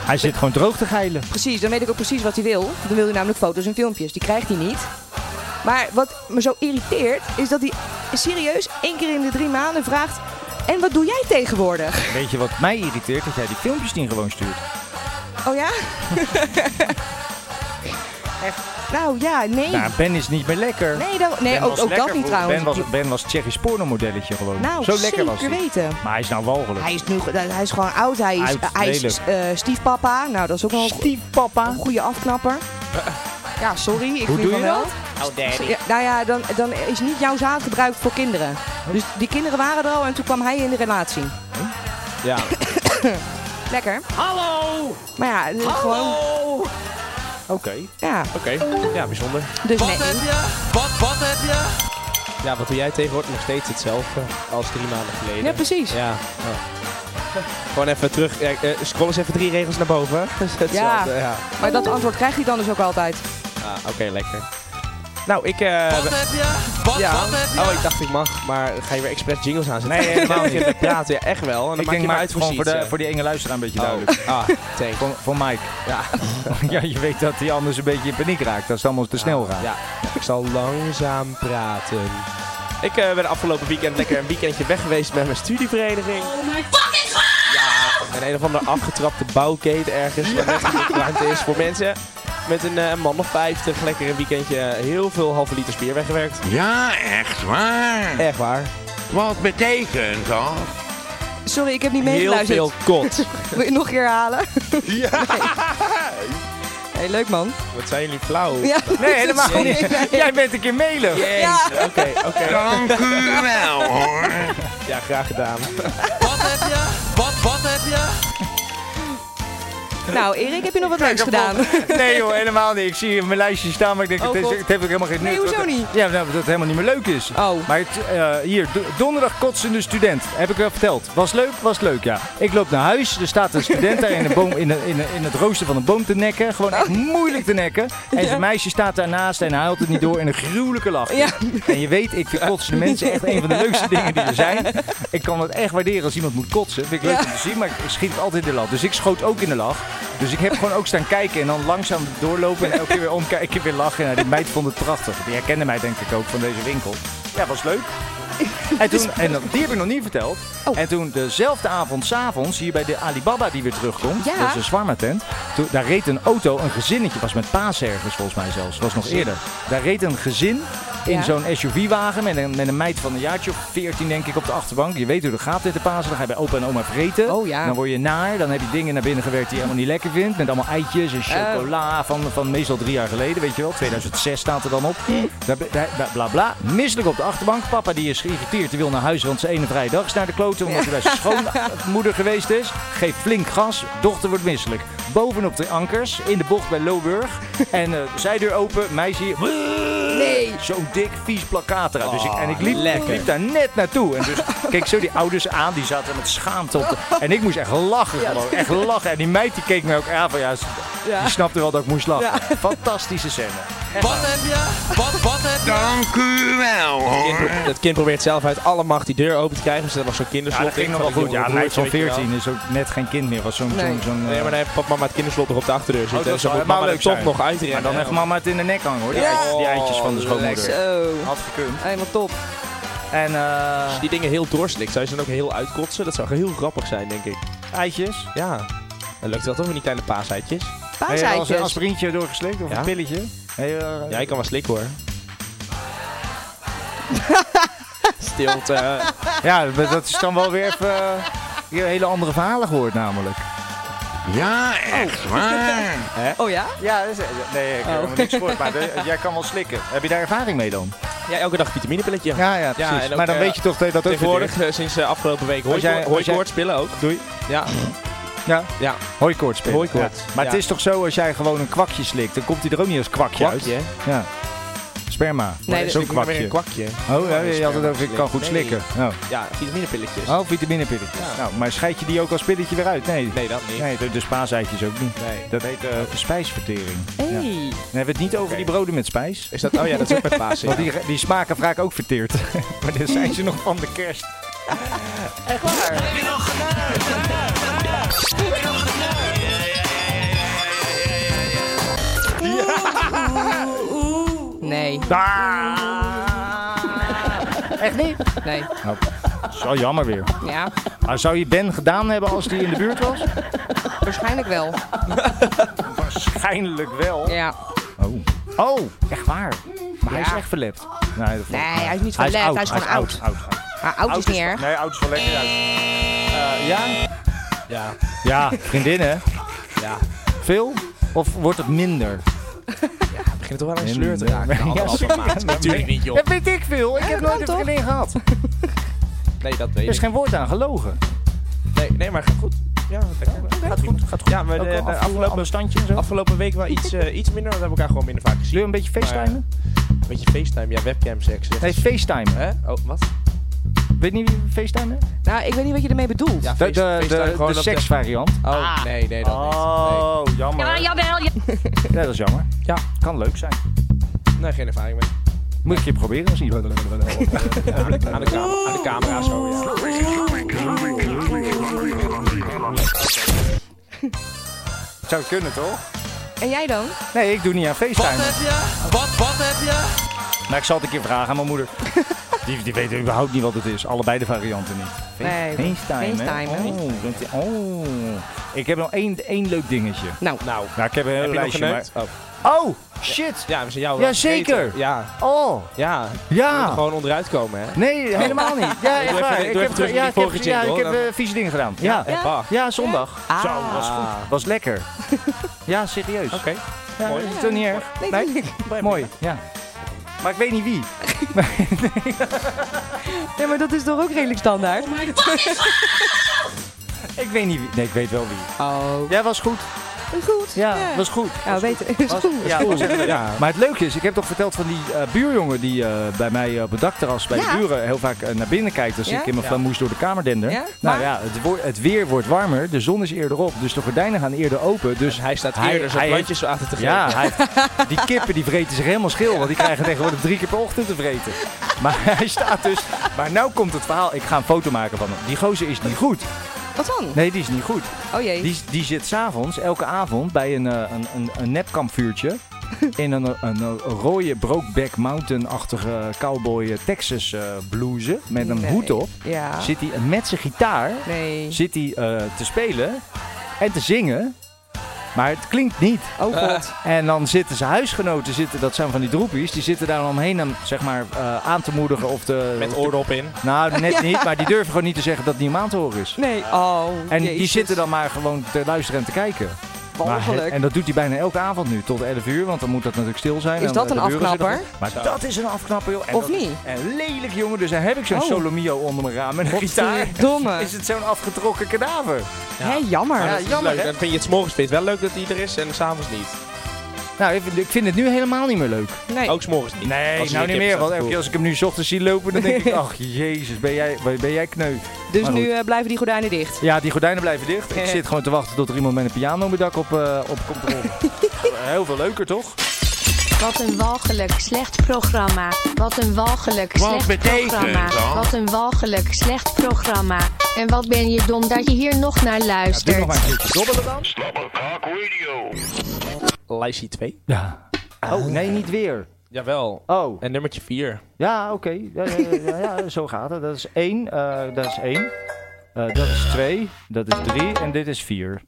Hij zit gewoon droog te geilen. Precies, dan weet ik ook precies wat hij wil. Dan wil hij namelijk foto's en filmpjes. Die krijgt hij niet. Maar wat me zo irriteert, is dat hij serieus één keer in de drie maanden vraagt... En wat doe jij tegenwoordig? Weet je wat mij irriteert? Dat jij die filmpjes niet gewoon stuurt. Oh ja? Nou ja, nee. Nou, Ben is niet meer lekker. nee, dan, nee Ben ook, was ook lekker dat niet vroeger. trouwens. Ben was, ben was Tsjechisch pornomodelletje gewoon. nou, Zo zeker lekker was hij. weten. Maar hij is nou walgelijk. Hij is, nu, eh, hij is gewoon oud. Hij is, Oud, hij is eh, stiefpapa. Nou, dat is ook wel een Stiefpapa. Een goede afknapper. Ja, sorry. Ik Hoe vind doe van je wel. Ja, nou ja, dan, dan is niet jouw zaad gebruikt voor kinderen. Dus die kinderen waren er al en toen kwam hij in de relatie. Ja. Lekker. Hallo! Maar ja, het is gewoon... Oké. Ja, Oké. Ja, bijzonder. dus Wat nee. heb je? Wat, wat heb je? Ja, wat doe jij tegenwoordig? Nog steeds hetzelfde als drie maanden geleden. Ja, precies. Ja. oh. Gewoon even terug. Ja, eh, scroll eens even drie regels naar boven. Dat is hetzelfde, ja. Maar dat antwoord krijgt hij dan dus ook altijd. Ah, Oké, lekker. Nou, ik... eh, Wat heb je? Wat, ja. wat heb je? Oh, ik dacht ik mag, maar ga je weer expres jingles aanzetten? Nee, helemaal Ik begin te praten. Ja, echt wel. En dan Ik maak denk maar je maar uit voor eh. gewoon voor, de, sheets, voor die enge luisteraar een beetje ja. duidelijk. Oh, Ah, thanks. Voor, voor Mike. Ja. ja, je weet dat hij anders een beetje in paniek raakt. Als het allemaal te snel gaat. Ja, ik zal langzaam praten. Ik eh, ben afgelopen weekend lekker een weekendje weg geweest met mijn studievereniging. Oh my fucking Ja, een een of andere afgetrapte bouwketen ergens waar net genoeg ruimte is voor mensen. Met een eh, man of 50 lekker een weekendje eh, heel veel halve liters bier weggewerkt. Ja, echt waar. Echt waar. Wat betekent dat? Sorry, ik heb niet Heel meegeluisterd. veel kot. Wil je het nog een keer halen? ja. hey, leuk man. Wat zijn jullie flauw. Ja, Nee, helemaal niet. Jij bent een keer mailen. Jezus, Oké, oké. Dank u wel, hoor. Ja, graag gedaan. Wat heb je? Wat, wat heb je? Nou, Erik, heb je nog wat leuks gedaan? Nee joh, helemaal niet. Ik zie hier mijn lijstje staan, maar ik denk, Oh, het, is, God. het heeft ook helemaal geen nut. Nee, hoezo Want- niet? Ja, nou, dat het helemaal niet meer leuk is. Oh. Maar het, eh, hier, do- donderdag kotsende student. Heb ik wel verteld. Was leuk, was leuk, ja. Ik loop naar huis. Er staat een student daar in, een boom, in, een- in, een- in het rooster van een boom te nekken. Gewoon Oh. echt moeilijk te nekken. En zijn meisje staat daarnaast en haalt het niet door. En een gruwelijke lach. Ja. En je weet, ik vind kotsende mensen echt een van de leukste dingen die er zijn. Ik kan het echt waarderen als iemand moet kotsen. Vind ik leuk Ja. om te zien, maar ik schiet altijd in de lach. Dus ik schoot ook in de lach. Dus ik heb gewoon ook staan kijken en dan langzaam doorlopen en elke keer weer omkijken, weer lachen. Nou, die meid vond het prachtig. Die herkende mij denk ik ook van deze winkel. Ja, was leuk. En, toen, en dan- die heb ik nog niet verteld. Oh. En toen dezelfde avond, s'avonds, hier bij de Alibaba die weer terugkomt. Ja. Dat is een zwarma tent. Toen, daar reed een auto, een gezinnetje, was met paas ergens volgens mij zelfs. was nog eerder. Daar reed een gezin in Ja. zo'n SUV-wagen met een, met een meid van een jaartje of 14 denk ik op de achterbank. Je weet hoe dat gaat dit de Pasen. Dan ga je bij opa en oma vreten. Oh, ja. Dan word je naar. Dan heb je dingen naar binnen gewerkt die je helemaal niet lekker vindt. Met allemaal eitjes en eh, chocola van, van meestal drie jaar geleden. Weet je wel, 2006 staat er dan op. Daar- daar- bla, bla bla. Misselijk op de achterbank. Papa die is geïrriteerd. Die wil naar huis, want zijn ene vrije dag is naar de kloten. Omdat hij bij zijn schoonmoeder geweest is. Geeft flink gas. Dochter wordt misselijk. Bovenop de ankers. In de bocht bij Loburg. En eh, zijdeur open. Meisje hier. Nee. Zo'n dik, vies plakkaat eraan. Dus ik, en ik liep, ik liep daar net naartoe. En dus keek zo die ouders aan, die zaten met schaamte op. de- en ik moest echt lachen gewoon. Echt lachen. En die meid die keek me ook aan van ja, ze- Ja. die snapte wel dat ik moest lachen. Fantastische scène. Wat heb je? Wat, wat heb je? Dank u wel hoor. Dat kind probeert zelf uit alle macht die deur open te krijgen. Dus dat was zo'n kinderslot. dat ging nog wel goed. Ja, hij is van 14, is ook net geen kind meer. Was zo'n... Nee. zo'n, zo'n, eh, nee, maar dan heeft papa mama het kinderslot nog op de achterdeur zitten. Oh, dat dus dan zou moet helemaal mama er leuk toch zijn. nog uitrennen. Maar dan heeft mama het in de nek hangen hoor. Die, Ja. eitjes, die eitjes van de Oh, schoonmoeder. Zo, Had gekund. helemaal top. En eh, Die dingen heel doorslikt. Zou je ze dan ook heel uitkotsen? Dat zou heel grappig zijn, denk ik. eitjes? Ja. Dan lukt dat toch met die kleine paaseitjes? Heb je als een Paaseitjes. aspirintje doorgeslikt of Ja. een pilletje? Hey, eh, Ja, ik kan wel slikken hoor. Stilte. Ja, maar dat is dan wel weer even eh, hier hele andere verhalen gehoord namelijk. Ja, echt waar. Oh ja? Oh. Ja, nee, ik heb helemaal niks gehoord, maar jij kan wel slikken. Heb je daar ervaring mee dan? Ja, elke dag een vitaminepilletje. Ja, ja, precies. en ook, maar dan eh, weet je toch dat je dat ook Tegenwoordig, verteert. eh, sinds eh, afgelopen week, hoor jij- als jij- je spillen ook. Doei. Ja, Ja. ja. Hooikoorts spelen. Hooikoorts. Ja. Maar Ja. het is toch zo, als jij gewoon een kwakje slikt, dan komt hij er ook niet als kwakje uit. Kwakje. Ja. Sperma. Nee, Zo'n Ik noem weer kwakje. een kwakje. Oh, ja, je had het sperma over, ik kan goed slikken. slikken. Oh, Ja, vitaminepilletjes. oh vitaminepilletjes. Ja. Nou, maar scheid je die ook als pilletje weer uit? Nee. Nee, dat niet. Nee, de, de spaaseitjes ook niet. Nee. Dat heet eh, spijsvertering. Ja. Dan Hey. hebben we het niet over die broden met spijs. Is dat, oh ja, dat is ook bij Pasen. Want ja. die, die smaken vaak ook verteerd. maar dan zijn ze nog van de kerst. Nee, Echt niet? Ah. nee. Nou, dat is wel jammer weer. Ja, Maar zou je Ben gedaan hebben als die in de buurt was? waarschijnlijk wel. Waarschijnlijk wel. Ja. Oh. Oh, echt waar. Maar hij is Ja. echt verlept. Nee, dat valt Nee, mee. hij is niet verlept, hij is gewoon oud. oud, oud. Maar oud is niet wel- erg. Nee, oud is wel lekker uit. Eh, ja? Ja. Ja, vriendinnen. Ja. Veel? Of wordt het minder? begint toch wel aan je Minder. sleur te raken. Ja, Ja, zeker. Natuurlijk niet, joh. Dat weet ik veel. Ik heb dat nooit een kan toch? vriendin gehad. Nee, dat Er weet is ik. Dus geen woord aan gelogen. Nee, nee maar goed. Ja, dat kan wel. Gaat goed, gaat goed. Ja, maar de, de afgelopen, standje en zo. afgelopen week wel iets, eh, iets minder, want we hebben elkaar gewoon minder vaak Wil je gezien. een beetje Maar, eh, facetimen? Een beetje FaceTime, ja, webcam seks. Nee, facetimen. Hè? Oh, wat? Weet niet wie facetimen? Nou, ik weet niet wat je ermee bedoelt. Ja, De, face- de, FaceTime de, gewoon de op seksvariant. Oh, Oh, nee, nee, dat niet. jammer. Ja, jawel. dat is jammer. Ja, kan leuk zijn. Nee. nee, geen ervaring mee. Moet ik je proberen? Als niet. Aan de, aan de, kamer, aan de camera zo, ja. Zou kunnen, toch? En jij dan? Nee, ik doe niet aan facetimen. Wat, wat heb je? Maar ik zal het een keer vragen aan mijn moeder. Die, die weet überhaupt niet wat het is. Allebei de varianten niet. Nee, FaceTime, hè? FaceTime, hè? Oh, dat- oh. Ik heb nog één, één leuk dingetje. Nou, Nou, Nou, ik heb een heel heb je nog lijstje. geneukt? Oh. maar- Oh, shit. Ja, we zijn jou wel Jazeker. vergeten. Ja, Oh, ja. ja. Ah. Gewoon onderuit komen, hè? Nee, helemaal niet. Ja, echt even- waar. doe Ik even heb, terug ja, in die ik heb, vorige ja, ik jingle, heb dan- eh, vieze dingen gedaan. Ja, En Ja. bah. ja zondag. Ah. Zo, was goed. Was lekker. Ja, serieus. Oké. Ja, mooi. Is het toch niet erg? nee, Nee? nee. Mooi, ja. Maar ik weet niet wie. nee, maar dat is toch ook redelijk standaard? Oh Ik weet niet wie. Nee, ik weet wel wie. Oh. Ja, was goed. Goed. Ja, was goed. Ja, weten. Is Was- goed. ja, was echt leuk. Ja. Maar het leuke is, ik heb toch verteld van die eh, buurjongen die eh, bij mij eh, op het dakterras bij Ja. de buren heel vaak eh, naar binnen kijkt als Ja? ik in mijn flamoes door de kamer dender. Ja, Nou maar- ja, het, wo- het weer wordt warmer, de zon is eerder op, dus de gordijnen gaan eerder open. Dus Hij staat Hij- eerder zijn hij plantjes zo achter te geven. Ja, hij heeft- die kippen die vreten zich helemaal schil. Want die krijgen tegenwoordig drie keer per ochtend te vreten. Maar hij staat dus... Maar nou komt het verhaal. Ik ga een foto maken van hem. Die gozer is niet goed. Wat dan? Nee, die is niet goed. Oh jee. Die, die zit s'avonds, elke avond, bij een, eh, een, een, een nepkampvuurtje. In een, een, een rode Brokeback Mountain-achtige cowboy eh, Texas eh, blouse. Met een Nee. hoed op. Ja. Zit hij met zijn gitaar Nee. zit hij, eh, te spelen en te zingen. Maar het klinkt niet. Eh, Oh god. En dan zitten zijn huisgenoten, zitten, dat zijn van die droepies, die zitten daar dan omheen hem zeg maar, eh, aan te moedigen of te... Met of te- oordop in. Nou, net niet, maar die durven gewoon niet te zeggen dat het niet om aan te horen is. Nee. Oh. En die jezus. zitten dan maar gewoon te luisteren en te kijken. Maar, Walgelijk. en dat doet hij bijna elke avond nu, tot 11 uur, want dan moet dat natuurlijk stil zijn. Is En dat de een buren zitten afknapper? nog- Maar dat is een afknapper, joh. En Of dat- niet? En lelijk, jongen, dus daar heb ik zo'n Oh. solomio onder mijn raam en een gitaar. Godverdomme. Is het zo'n afgetrokken kadaver? Hé, jammer. Ja, Dat is jammer, leuk. hè? Dan vind je het 's morgens vind je het wel leuk dat hij er is en s'avonds niet. Nou, ik vind- ik vind het nu helemaal niet meer leuk. Oh, Nee. Ook s'morgens niet. Nee, Als je nou de niet kip meer. staat Want te elke keer als ik hem nu 's ochtends zie lopen, dan denk ik... Ach, jezus, ben jij, ben jij kneu. Dus Maar nu goed. eh, blijven die gordijnen dicht. Ja, die gordijnen blijven dicht. Ik zit eh, gewoon te wachten tot er iemand met een piano op mijn dak op, eh, op komt rollen. Heel veel leuker, toch? Wat een walgelijk slecht programma. Wat een walgelijk Wat slecht betekent programma. dat? Wat een walgelijk slecht programma. En wat ben je dom dat je hier nog naar luistert. Lijstje 2. Ja. Oh, nee, niet weer. Jawel. Oh, En nummertje 4. ja, oké. Ja, ja, ja, ja, zo gaat het. Dat is één. eh, dat is één. Eh, dat is twee. Dat is drie. En dit is vier.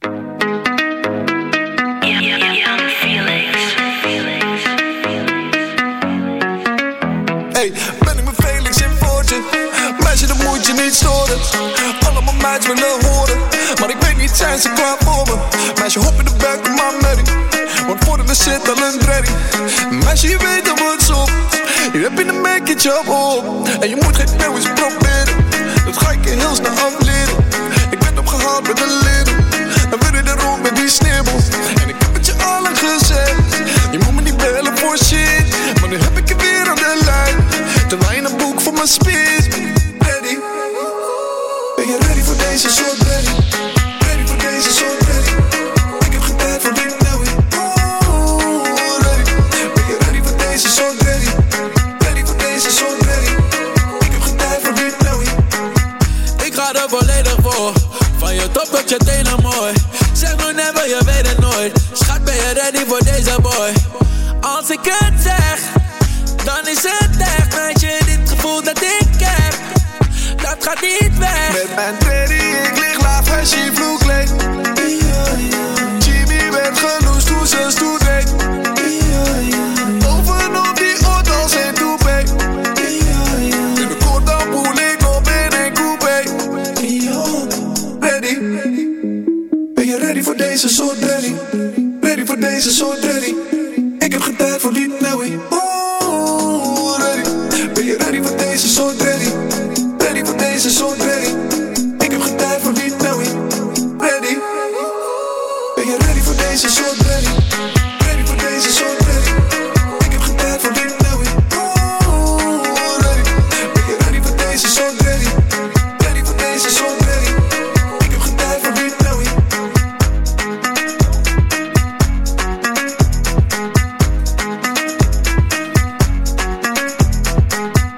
Hey, ben ik met Felix in Voortje? Meisje, dat moet je niet storen. Allemaal meisjes willen horen. Maar ik weet niet, zijn ze klaar voor me? Meisje, hop in de buik van mijn merrie. Want voor de zit al een dredding. Meisje, je weet al wat op. Je hebt in een make op op. En je moet geen nou eens proberen. Dat ga ik je heel snel afleren. Ik ben opgehaald met een leren. Dan wil je er rond met die sneeuwbel. En ik heb het je allen gezegd. Je moet me niet bellen voor shit. Maar nu heb ik je weer aan de lijn. Terwijl je een boek voor mijn spits. Ready? Ben je ready voor deze soort ready? Ready voor deze soort ready? Ik heb gebed voor dit nou weer. Oeh, ready. Ben je ready voor deze soort ready? Ready voor deze soort ready? Ik heb gebed voor dit nou weer. Ik ga er volledig voor. Van je top tot je tenen mooi. Zeg nooit never, je weet het nooit. Schat, ben je ready voor deze boy? Als ik het zeg, dan is het echt. Meisje, dit gevoel dat ik heb, dat gaat niet weg. Met mijn teddy, ik lig laag als je vloek leek. Jimmy werd genoest toen ze stoet deed. Bovenop die auto's en toepé. In de kort dan poel ik op in een coupé. Ready? Ben je ready voor deze soort ready? Ready voor deze soort ready? Ik heb geen tijd voor die Nelly. Oeh, ready. Ben je ready voor deze soort ready? Ready voor deze soort ready? Ik heb geen tijd voor die Nelly. Ready? Ben je ready voor deze soort ready? Ready voor deze soort ready? Ik heb geen tijd voor die Nelly. Oeh, ready. Ben je ready voor deze soort ready? Ready voor deze soort ready? Ik heb geen tijd voor die Nelly.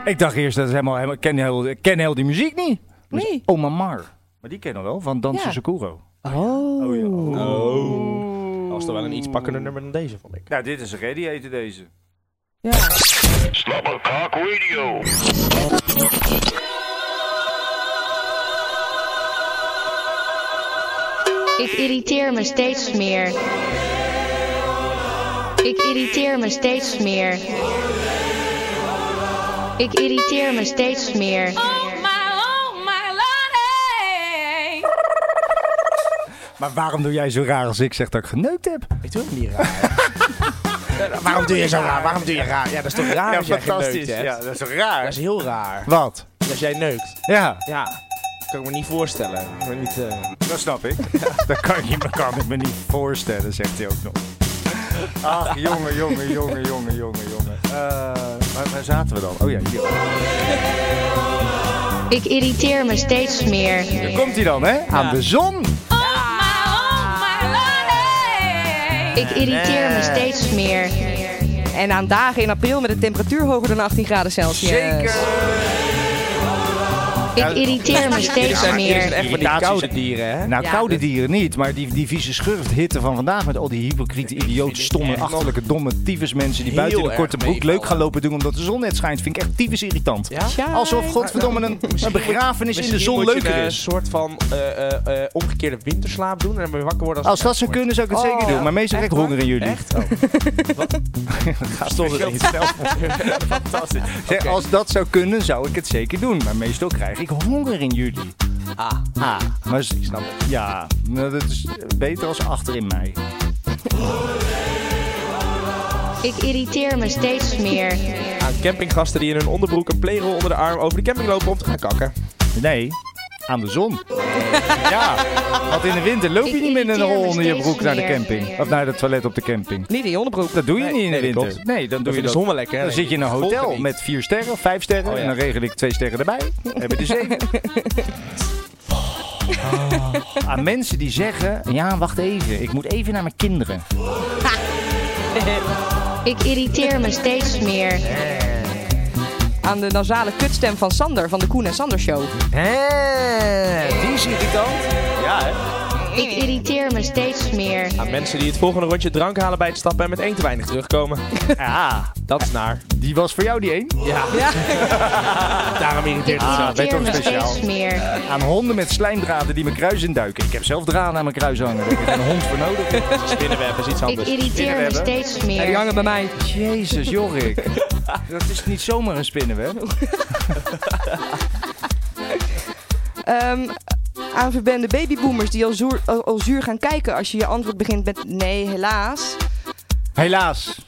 Ik dacht eerst, dat is helemaal, helemaal, ik, ken heel, ik ken heel die muziek niet. Dus Nee. Oma Mar. Maar die kennen we wel, van Dansen Ja. Sakuro. Oh. Oh. Dat was toch wel een iets pakkender nummer dan deze, vond ik. Nou, dit is een radiator deze. Ja. Ik irriteer me steeds meer. Ik irriteer me steeds meer. Ik irriteer me steeds meer. Maar waarom doe jij zo raar als ik zeg dat ik geneukt heb? Ik doe het niet raar. Eh, waarom doe je zo raar? Waarom doe je raar? Ja, dat is toch raar als jij geneukt hebt? Ja, dat is toch Dat raar? is heel raar. Wat? Als jij neukt. Ja, Ja. Kan ik me niet voorstellen. Maar niet, eh, dat snap ik. dat kan, je, dat kan ik me niet voorstellen, zegt hij ook nog. Ach, jongen, jongen, jongen, jongen, jongen, jongen. Eh, waar, waar zaten we dan? Oh ja, hier. Ik irriteer me steeds meer. Daar komt hij dan, hè? Aan de zon. Ik irriteer me steeds meer. En aan dagen in april met een temperatuur hoger dan 18 graden Celsius. Ik irriteer me steeds meer. echt van die irritaties koude en- dieren, hè? Nou, Ja, koude dat- dieren niet, maar die, die vieze schurfthitte van vandaag met al die hypocriete, idioten, stomme, achterlijke, domme tyfusmensen die Heel buiten de erg korte broek meevallen. leuk gaan lopen doen omdat de zon net schijnt, vind ik echt tyfus irritant. Ja? Alsof, godverdomme, een, een begrafenis in de zon leuker een is. soort van eh, eh, eh, omgekeerde winterslaap doen en dan weer wakker worden als... Als dat zou kunnen, zou ik het Oh, zeker doen. Maar meestal echt krijg ik honger in jullie. Echt? Oh. Wat? Stond er niet. Fantastisch. Zeg, Als dat zou kunnen, zou ik het zeker doen. Maar meestal krijg ik honger in jullie. Ah. ah. Maar s- ik snap het. Ja, nou, dat is beter als achter in mij. Ik irriteer me steeds meer. Aan campinggasten die in hun onderbroek een playroll onder de arm over de camping lopen om te gaan kakken. Nee, aan de zon. ja, want in de winter loop je Ik niet meer in een irriteer rol me onder je steeds broek naar de meer. camping. Of naar het toilet op de camping. Niet in je onderbroek. Dat doe je Nee, niet in de nee, dat winter. klopt. Nee, dan doe je vind ik dat. zon wel lekker, Dan nee. zit je in een Volken hotel niet. met vier sterren of vijf sterren. ja. En dan regel ik twee sterren erbij. Dan Hebben we de zeven. Ah. Aan mensen die zeggen: Ja, wacht even. Ik moet even naar mijn kinderen. Ik irriteer me steeds meer. Eh. Aan de nasale kutstem van Sander van de Koen en Sander Show. die is irritant. Ja, hè? Ik irriteer me steeds meer. Aan mensen die het volgende rondje drank halen bij het stappen en met één te weinig terugkomen. Ja, dat is naar. Die was voor jou die één? Ja. Daarom irriteert het zo. Ah, ben je toch speciaal? meer. Aan honden met slijmdraden die mijn kruis induiken. Ik heb zelf draden aan mijn kruis hangen. Daar heb ik een hond voor nodig. Spinnenweb is iets Ik anders. irriteer me Spinnenwebben. steeds meer. die hangen bij mij. Jezus, Jorik. Dat is niet zomaar een spinnenweb. Ehm aan verbende babyboomers die al, zoer, al, al zuur gaan kijken als je je antwoord begint met nee, helaas. Helaas.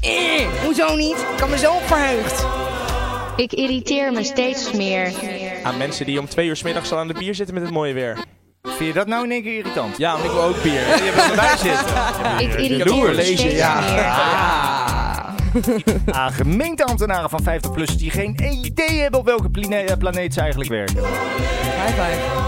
Eh, hoezo niet? Ik kan me zo op verheugd. Ik irriteer me steeds meer. Aan mensen die om twee uur 's middags al aan de bier zitten met het mooie weer. Vind je dat nou in één keer irritant? Ja, want ik wil ook bier. Die hebben erbij zitten. Ik irriteer Jaloers. me steeds Ja. meer. Aan gemeenteambtenaren Ah, van 50PLUS die geen idee hebben op welke plane- eh, planeet ze eigenlijk werken. High five.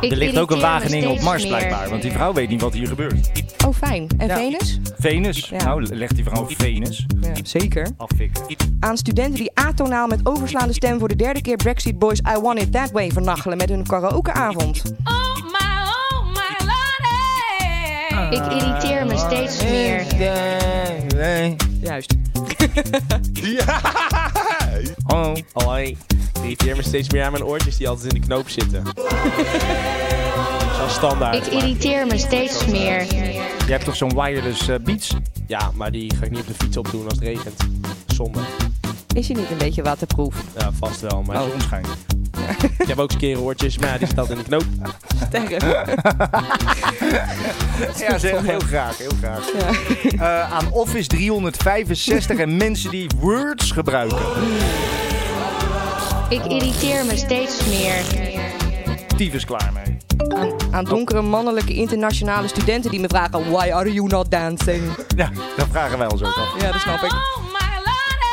Ik Er ligt ook een irriteer me Wageningen op steeds Mars meer. blijkbaar, want die vrouw weet niet wat hier gebeurt. Oh, fijn. En Venus? Venus. Ja. Nou, legt die vrouw Venus. Ja, zeker. Affikken. Aan studenten die atonaal met overslaande stem voor de derde keer Brexit Boys I Want It That Way vernachelen met hun karaokeavond. Oh Ik irriteer me steeds meer. Nee. Juist. Oh. Hoi. Ik irriteer me steeds meer aan mijn oortjes die altijd in de knoop zitten. Zo standaard. maar- Ik irriteer me steeds meer. Je hebt toch zo'n dus, wireless eh, beats? Ja, maar die ga ik niet op de fiets opdoen als het regent. Zonde. Is hij niet een beetje waterproof? Ja, vast wel. Maar Oh, onschijn. ik heb ook skere oortjes, maar ja, die staat in de knoop. Ja, zeg, heel graag, heel graag. Eh, aan Office 365 en mensen die words gebruiken. Ik irriteer me steeds meer. Tyfus klaar mee. Aan donkere mannelijke internationale studenten die me vragen Why are you not dancing? Ja, dat vragen wij ons ook af. Ja, dat snap ik.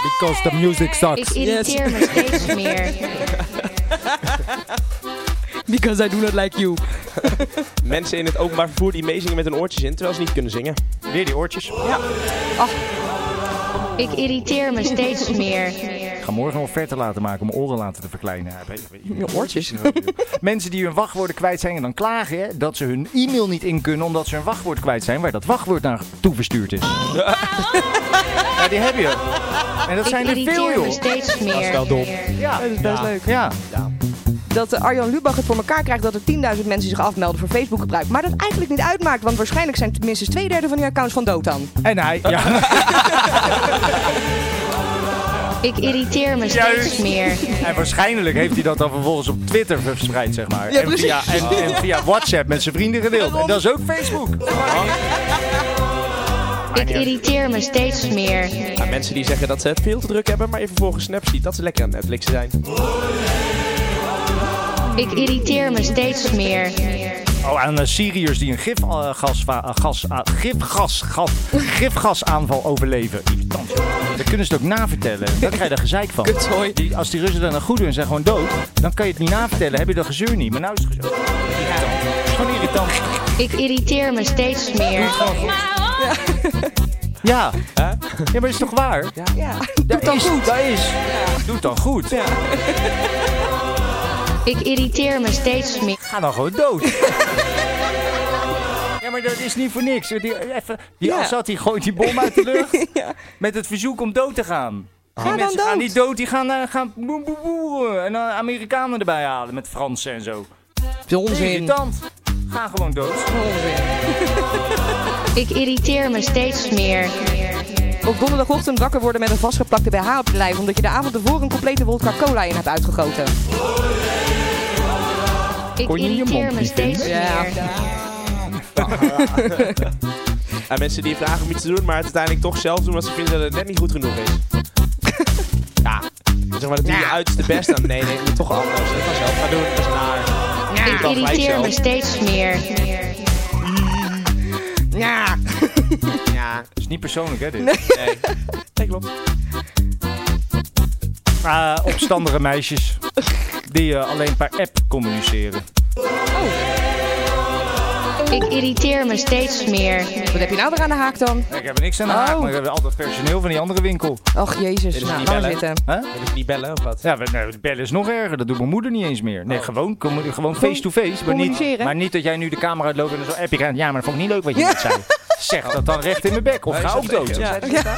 Because the music Oh, Ik sucks. irriteer me steeds meer. Because I do not like you. Mensen in het openbaar vervoer die meezingen met hun oortjes in, terwijl ze niet kunnen zingen. Weer die oortjes. Ik irriteer me steeds meer. Ik ga morgen een offerte laten maken om oren laten te verkleinen. Ja, weet- weet- Je oortjes. Mensen die hun wachtwoorden kwijt zijn en dan klagen hè, dat ze hun e-mail niet in kunnen omdat ze hun wachtwoord kwijt zijn, waar dat wachtwoord naar toeverstuurd is. ja, die heb je. En dat Oh, Ik zijn er veel, irriteer me joh. steeds meer. Wel dom. Ja, dat is best leuk. Ja. Dat eh, Arjan Lubach het voor elkaar krijgt dat er 10.000 mensen zich afmelden voor Facebook gebruik. Maar dat eigenlijk niet uitmaakt, want waarschijnlijk zijn minstens twee derde van die accounts van Dotan. En hij. Ja. Ik irriteer me steeds meer. En waarschijnlijk heeft hij dat dan vervolgens op Twitter verspreid, zeg maar. en, via, en, en via WhatsApp met zijn vrienden gedeeld. En dat is ook Facebook. Ik irriteer me steeds meer. Ja, mensen die zeggen dat ze het veel te druk hebben, maar je vervolgens snaps ziet dat ze lekker aan Netflix zijn. Ik irriteer me steeds meer. Oh, aan eh, Syriërs die een gif, eh, gas, va- eh, gas, ah, gifgas, gas, gifgasaanval overleven. Irritant. Dat kunnen ze het ook navertellen. Daar krijg je er gezeik van. Kutzooi. Die, als die Russen dan een goed doen en zijn gewoon dood, dan kan je het niet navertellen. Heb je dat gezeur niet. Maar nou is het gezeur. Irritant. Het is Gewoon irritant. Ik irriteer me steeds meer. Ja. Ja, maar is toch waar? Ja. Ja, doet dan is, goed. Dat is. Doe het dan goed. Ik irriteer me steeds meer. Ga dan gewoon dood. Ja, maar dat is niet voor niks. Die, even, die Ja. Assad die gooit die bom uit de lucht met het verzoek om dood te gaan. Die dan mensen gaan dood. niet dood, die gaan, eh, gaan boe- boe- boe- eh, en dan Amerikanen erbij halen met Fransen en zo. Onzin. Irritant. Ga gewoon dood. Ik irriteer me steeds meer. Op donderdagochtend wakker worden met een vastgeplakte BH op je lijf omdat je de avond ervoor een complete wodka cola in hebt uitgegoten. Ik Kon je je irriteer mond me niet steeds vinden? Ja. meer. En mensen die vragen om iets te doen, maar het uiteindelijk toch zelf doen, want ze vinden dat het net niet goed genoeg is. Ja. Zeg maar, dat doe je uiterste best aan. Nee, nee, ik moet toch anders. Dat ga zelf gaan doen. Dat is naar. Ik irriteer me steeds meer. Ja. Ja. Dat is niet persoonlijk, hè, dit? Nee. Nee, klopt. Ah, opstandige meisjes die eh, alleen per app communiceren. Oh. Ik irriteer me steeds meer. Wat heb je nou weer aan de haak dan? Ik heb er niks aan de haak, Oh. maar we hebben altijd personeel van die andere winkel. Och jezus, nou, laat maar zitten. Willen ze niet bellen of wat? Oh. Ja, we- nee, bellen is nog erger. Dat doet mijn moeder niet eens meer. Nee, gewoon commu- gewoon face-to-face. maar, niet, communiceren. maar niet dat jij nu de camera uitloopt en dan zo appje krijgt. Ja, maar dat vond ik niet leuk wat je net zei. Zeg dat dan recht in mijn bek of Hij ga is ook een dood. beetje- Ja,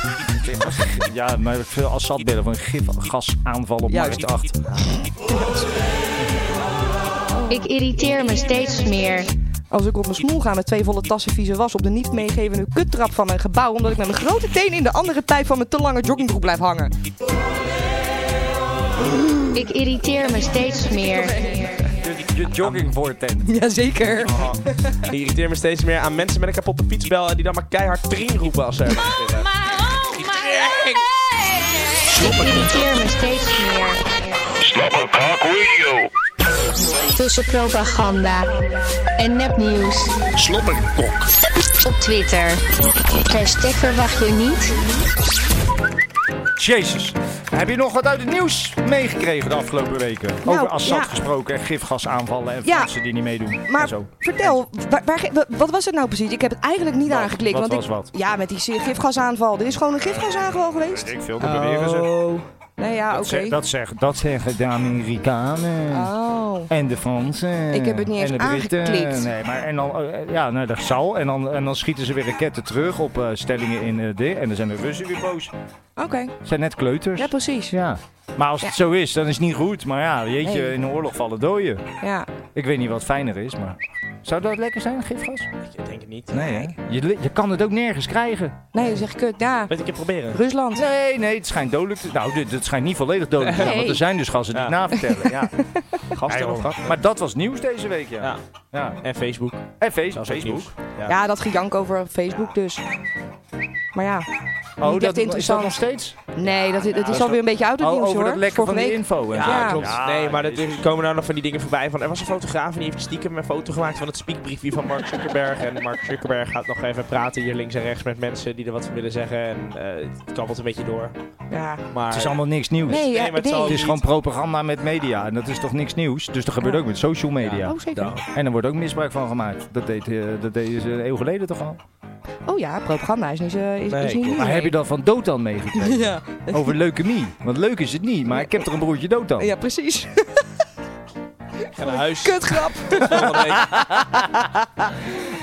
ja maar veel Assad bellen van gif, gasaanval op Juist. markt 8. Ik irriteer me steeds meer. Als ik op mijn smoel ga met twee volle tassen vieze was op de niet meegevende kuttrap van mijn gebouw. omdat ik met mijn grote teen in de andere pijp van mijn te lange joggingbroek blijf hangen. Ik irriteer me steeds meer. Je jogging voor tent. Jazeker. Oh. Ik irriteer me steeds meer aan mensen met een kapotte fietsbel en die dan maar keihard tring roepen als ze ergens zitten. Ik irriteer me steeds meer. Radio. Tussen propaganda en nepnieuws. Slobberkok. Op Twitter. Hashtag verwacht je niet. Jezus. Heb je nog wat uit het nieuws meegekregen de afgelopen weken? Nou, Over Assad ja. gesproken en gifgasaanvallen en Ja. mensen die niet meedoen. en Maar zo. vertel, waar, waar ge- wa- wat was het nou precies? Ik heb het eigenlijk niet aangeklikt. wat want ik, was wat? Ja, met die zeer gifgasaanval. Er is gewoon een gifgasaanval geweest. Ik veel te beweren ze. Nou ja, Dat, oké. zeg- dat, zeg- dat zeggen de Amerikanen. Oh. En de Fransen. Ik heb het niet eens en de Britten. aangeklikt. Nee, maar en dan, eh, ja, nou, dat zal. En dan, en dan schieten ze weer raketten terug op eh, stellingen in eh dit. En dan zijn de Russen weer boos. Oké. Het zijn net kleuters. Ja, precies. Ja. Maar als het Ja. zo is, dan is het niet goed. Maar ja, jeetje, Nee. in de oorlog vallen dooien. Ja. Ik weet niet wat fijner is, maar... Zou dat lekker zijn, gifgas? Ik denk het niet. Nee, hè? Je, li- je kan het ook nergens krijgen. Nee, dat is echt kut. Ja. Weet ik je proberen? Rusland. Nee, nee, het schijnt dodelijk te Nou, dit, het schijnt niet volledig dodelijk te zijn, Nee. want er zijn dus gassen die het navertellen. Ja. Gasten of Eiland. gasten? Maar dat was nieuws deze week, ja. Ja. Ja. En Facebook. En face- Dat is ook Facebook. nieuws. Ja. dat gejank over Facebook dus. Maar ja, Oh, dat- niet echt is dat interessant. nog steeds? Nee, dat, dat is dat- alweer een beetje oud het Oh, nieuws over hoor. dat lekken van Vorige die week. info. en Ja, zo. klopt. Ja, nee, maar dat jezus. er komen nou nog van die dingen voorbij. Van, er was een fotograaf en die heeft stiekem een foto gemaakt van het speakbriefje van Mark Zuckerberg. En Mark Zuckerberg gaat nog even praten hier links en rechts met mensen die er wat van willen zeggen. En eh, het kabbelt een beetje door. Ja. Maar, Het is allemaal niks nieuws. Nee, ja, maar het zal nee. Het is niet- gewoon propaganda met media. En dat is toch niks nieuws? Dus dat gebeurt ook met social media. Oh, zeker. En er wordt ook misbruik van gemaakt. Dat deed, eh, dat deden ze een eeuw geleden toch al? Oh ja, propaganda is niet, eh, is, Nee, is niet nieuw. Maar heb je dat van Dotan meegekregen? Ja. Over leukemie. Want leuk is het niet, maar ik heb er een broertje Dotan. ja, precies. Ik ga naar huis. Kutgrap. Volgende week.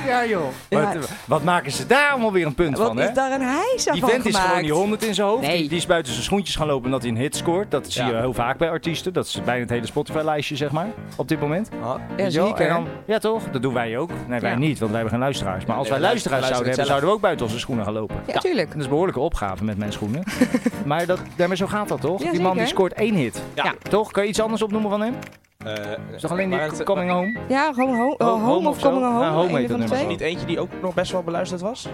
Ja, joh. Ja. Wat, wat maken ze daar allemaal weer een punt Wat van, hè? is daar een hijsa Die van vent gemaakt? is gewoon die 100 in zijn hoofd. Nee. Die, die is buiten zijn schoentjes gaan lopen omdat hij een hit scoort. Dat zie je Ja. heel vaak bij artiesten. Dat is bijna het hele Spotify-lijstje, zeg maar. Op dit moment. Ah, Ja, Weet je wel? zeker. En dan- ja, toch? Dat doen wij ook. Nee, wij Ja. niet, want wij hebben geen luisteraars. Maar als nee, wij wij luisteraars zouden hebben, luisteren zouden we ook buiten onze schoenen gaan lopen. Ja, tuurlijk. Dat is een behoorlijke opgave met mijn schoenen. maar, dat, nee, maar zo gaat dat toch? Ja, die man die zeker. scoort één hit. Ja. Toch? Kan je iets anders opnoemen van hem? Eh, Is toch alleen maar die het- Coming Home? Ja, gewoon ho- eh, Ho- home, home of of zo? coming home. Ja, home heet een van dat de nummer twee. Niet eentje die ook nog best wel beluisterd was?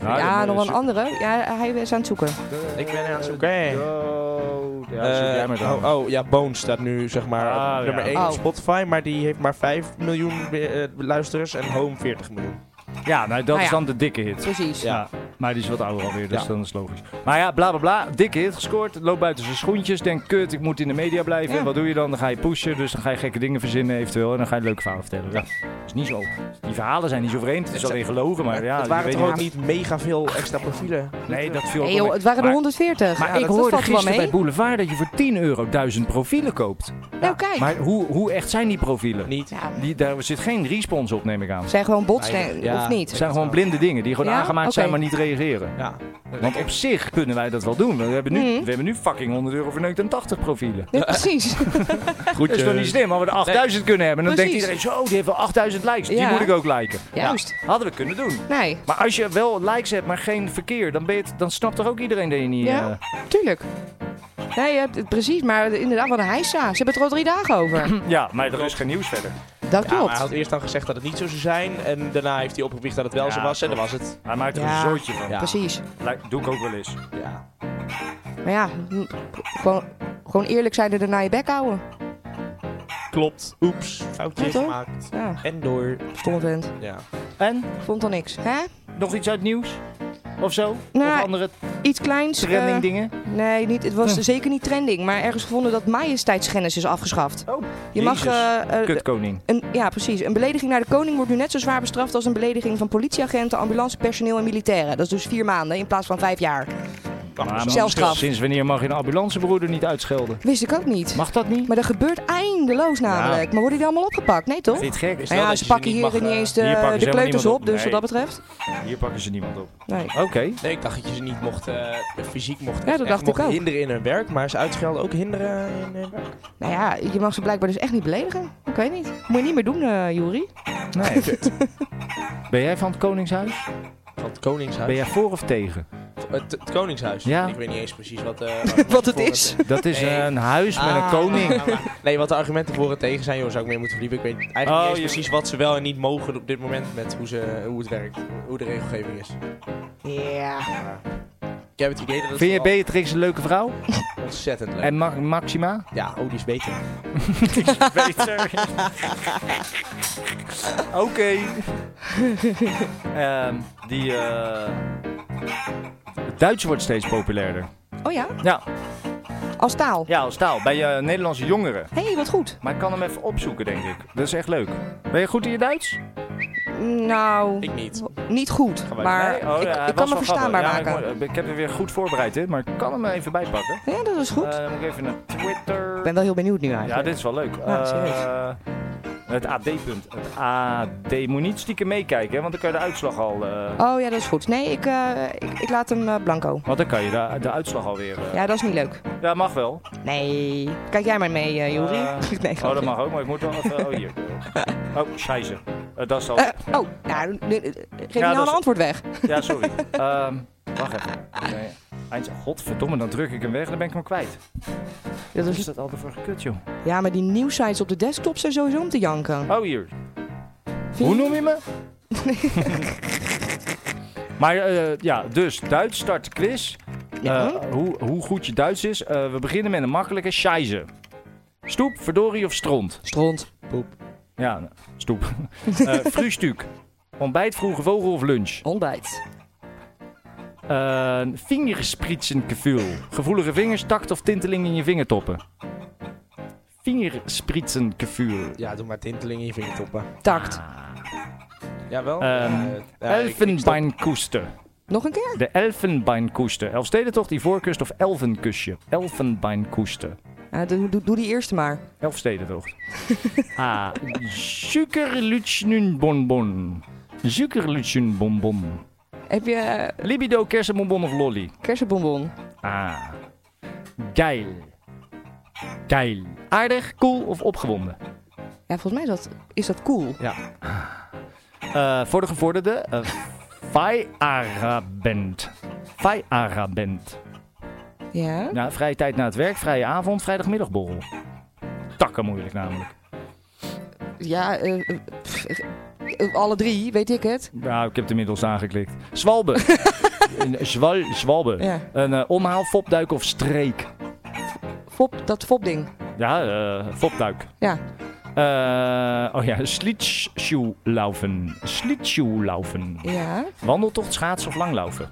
Ja, nog wel een ander. andere. Ja, hij is aan het zoeken. Ik ben aan het zoeken. Eh, Ja, zoek jij maar dan. oh, oh, ja, Bones staat nu zeg maar Ah, op nummer ja. 1 op Oh. Spotify, maar die heeft maar 5 miljoen eh, luisteraars en Home 40 miljoen. Ja, nou, dat Nou is ja. dan de dikke hit. Precies. Ja. maar die is wat ouder alweer, dus Ja. dan is het logisch. Maar ja, bla bla bla. Dikke hit gescoord. Loopt buiten zijn schoentjes. Denkt, kut, ik moet in de media blijven. Ja. Wat doe je dan? Dan ga je pushen. Dus dan ga je gekke dingen verzinnen eventueel. En dan ga je leuke verhalen vertellen. Ja, dat is niet zo. Die verhalen zijn niet zo vreemd. Het is alleen gelogen, maar ja. het je waren weet toch ook niet- niet mega veel extra profielen. Nee, dat viel ook Hey, wel joh, mee. het waren er Maar- 140. Maar Ja, ik dat- dat hoorde valt er wel gisteren bij mee. Boulevard dat je voor 10 euro 1000 profielen koopt. Nou, kijk. Maar hoe, hoe echt zijn die profielen? Niet. Ja, Die, daar zit geen respons op, neem ik aan. zijn gewoon bots, Weinig. nee, Ja. of Het niet? zijn gewoon blinde dingen die gewoon Ja? aangemaakt zijn, Oké. maar niet reageren. Ja. Want op zich kunnen wij dat wel doen. We hebben nu, we hebben nu fucking 100 euro verneukt en 80 profielen. Mhm. Ja, precies. Goed, Dat is toch niet slim, maar we er 8000 kunnen hebben. Dan Precies. denkt iedereen, zo, die heeft wel 8000 likes. Die Ja. moet ik ook liken. Juist. Ja, hadden we kunnen doen. Nee. Maar als je wel likes hebt, maar geen verkeer, dan, ben je het- dan snapt toch ook iedereen dat je niet... eh, Ja, tuurlijk. Nee, je hebt het precies, maar inderdaad, wat een heisa. Ze hebben het er al drie dagen over. ja, maar er is geen nieuws verder. Dat Ja, maar hij klopt. had eerst al gezegd dat het niet zo zou zijn. En daarna heeft hij opgebiecht dat het wel Ja, zo was. En dan klopt. was het. Hij maakt er Ja. een zootje van. Ja. Precies. Lijkt- Doe ik ook wel eens. Ja. Maar ja, m- gewoon, gewoon eerlijk zijn en daarna je bek houden. Klopt. Oeps. Foutje Ja, toch? gemaakt. Ja, En door. stom vent. Ja. En, Vond dan niks. Hè? nog iets uit het nieuws? of zo? Nou, of andere iets kleins. eh, trending dingen? Hm. nee, niet, het was zeker niet trending. Maar ergens gevonden dat majesteitsschennis is afgeschaft. Oh, je mag. Jezus, eh, eh, Kutkoning. Een, ja, precies. Een belediging naar de koning wordt nu net zo zwaar bestraft als een belediging van politieagenten, ambulancepersoneel en militairen. Dat is dus vier maanden in plaats van vijf jaar. Maar Zelfstraf. Sinds wanneer mag je een ambulancebroeder niet uitschelden? Wist ik ook niet. Mag dat niet? Maar dat gebeurt eindeloos namelijk. Maar worden die allemaal opgepakt? Nee, toch? Vind je het gek? Is wel Nou ja, dat ze je ze pakken niet hier mag, niet eh, eens hier de, pakken ze de helemaal kleuters niemand op, op. dus Nee. wat dat betreft. Hier pakken ze niemand op. Nee. Oké. Nee, ik dacht dat je ze niet mocht, eh, fysiek mocht, Ja, dat echt dacht ik mocht ook. hinderen in hun werk, maar ze uitschelden ook hinderen in hun werk. Nou ja, je mag ze blijkbaar dus echt niet beledigen. Ik weet niet. Moet je niet meer doen, eh Juri. Nee. ben jij van het Koningshuis? Van het Koningshuis? Ben jij voor of tegen? Het, het Koningshuis. Ja. Ik weet niet eens precies wat, eh, Wat het voor is. Dat is een huis met een Ah. koning. Nee, wat de argumenten voor en tegen zijn, joh, zou ik meer moeten verdiepen. Ik weet eigenlijk Oh, niet eens je- precies wat ze wel en niet mogen op dit moment met hoe, ze, hoe het werkt. Hoe de regelgeving is. Ja. Ik heb het idee dat het Vind je vooral Beatrix een leuke vrouw? ontzettend leuk En Ma- Maxima? Ja, oh, die is beter. Beter. Oké. Ehm, die. eh, Het Duits wordt steeds populairder. Oh ja, Ja, als taal. ja als taal. Bij eh, Nederlandse jongeren. Hé, hey, wat goed. Maar ik kan hem even opzoeken, denk ik. Dat is echt leuk. Ben je goed in je Duits? Nou, Ik niet. niet goed. Maar Nee? Oh, ik, ja, hij was ik kan me wel verstaanbaar grappig. Ja, maken. ik, ik heb er weer goed voorbereid, hè, maar ik kan hem er even bijpakken. Ja, dat is goed. Eh, dan moet ik even naar Twitter. ik ben wel heel benieuwd nu eigenlijk. Ja, dit is wel leuk. Ja, serieus. Eh, het AD-punt. Het AD. Moet niet stiekem meekijken, hè, want dan kan je de uitslag al. eh, Oh ja, dat is goed. Nee, ik, eh, ik, ik laat hem eh, blanco. Want dan kan je de, de uitslag alweer. eh Ja, dat is niet leuk. ja, mag wel. Nee. Kijk jij maar mee, eh Juri. Eh, nee, oh, grapje. dat mag ook, maar ik moet wel even. Oh, hier. Oh, scheiße. Eh, dat is al. Eh, oh, nou, nu- nu- geef je dat nou is- een antwoord weg. Ja, sorry. Ehm, wacht even. Nee. Eind... Godverdomme, dan druk ik hem weg en dan ben ik hem kwijt. Dat Wat is is, dat altijd voor gekut, joh? ja, maar die nieuwsites op de desktop zijn sowieso om te janken. Oh, hier. Vind Hoe je- noem je me? maar eh, ja, dus Duits start de quiz. Ja. Eh, hoe, hoe goed je Duits is. Eh, we beginnen met een makkelijke scheisse. Stoep, verdorie of stront? Stront. Ja, nou, stoep. Eh frühstuk. Ontbijt, vroege vogel of lunch? Ontbijt. Eh vingerspritsengevoel. Gevoelige vingers, takt of tinteling in je vingertoppen? Vingerspritsengevoel. Ja, doe maar tinteling in je vingertoppen. Ah. Takt. Jawel. Ehm, Eh, ja, ik- ik stop. Elfenbeinkoester. Nog een keer? De Elfenbeinkoester. Elfstedentocht, Ivoorkust of Elfenkusje? Elfenbeinkoester. Ja, doe, doe, doe die eerste maar. Elfstedentocht. ah, Zuckerlutschnunbonbon. Zuckerlutschnunbonbon. Heb je eh, Libido, kersenbonbon of lolly? kersenbonbon? Ah. Geil. Geil. Aardig, cool of opgewonden? Ja, volgens mij is dat, is dat cool. Eh, voor de gevorderde, eh Feierabend. Feierabend. Ja? Nou, vrije tijd na het werk, vrije avond, vrijdagmiddagborrel. Takken moeilijk namelijk. Ja, eh, eh, pff, eh, alle drie, weet ik het. Nou, ik heb het inmiddels aangeklikt. Zwalbe. Een zwal, zwalbe. Ja. Een eh, omhaal, fopduik of streek. Fop, dat fopding. Ja, eh, fopduik. Ja. Eh, oh ja, slitschuhlaufen. Slitschuhlaufen. Ja. Wandeltocht, schaats of langlaufen?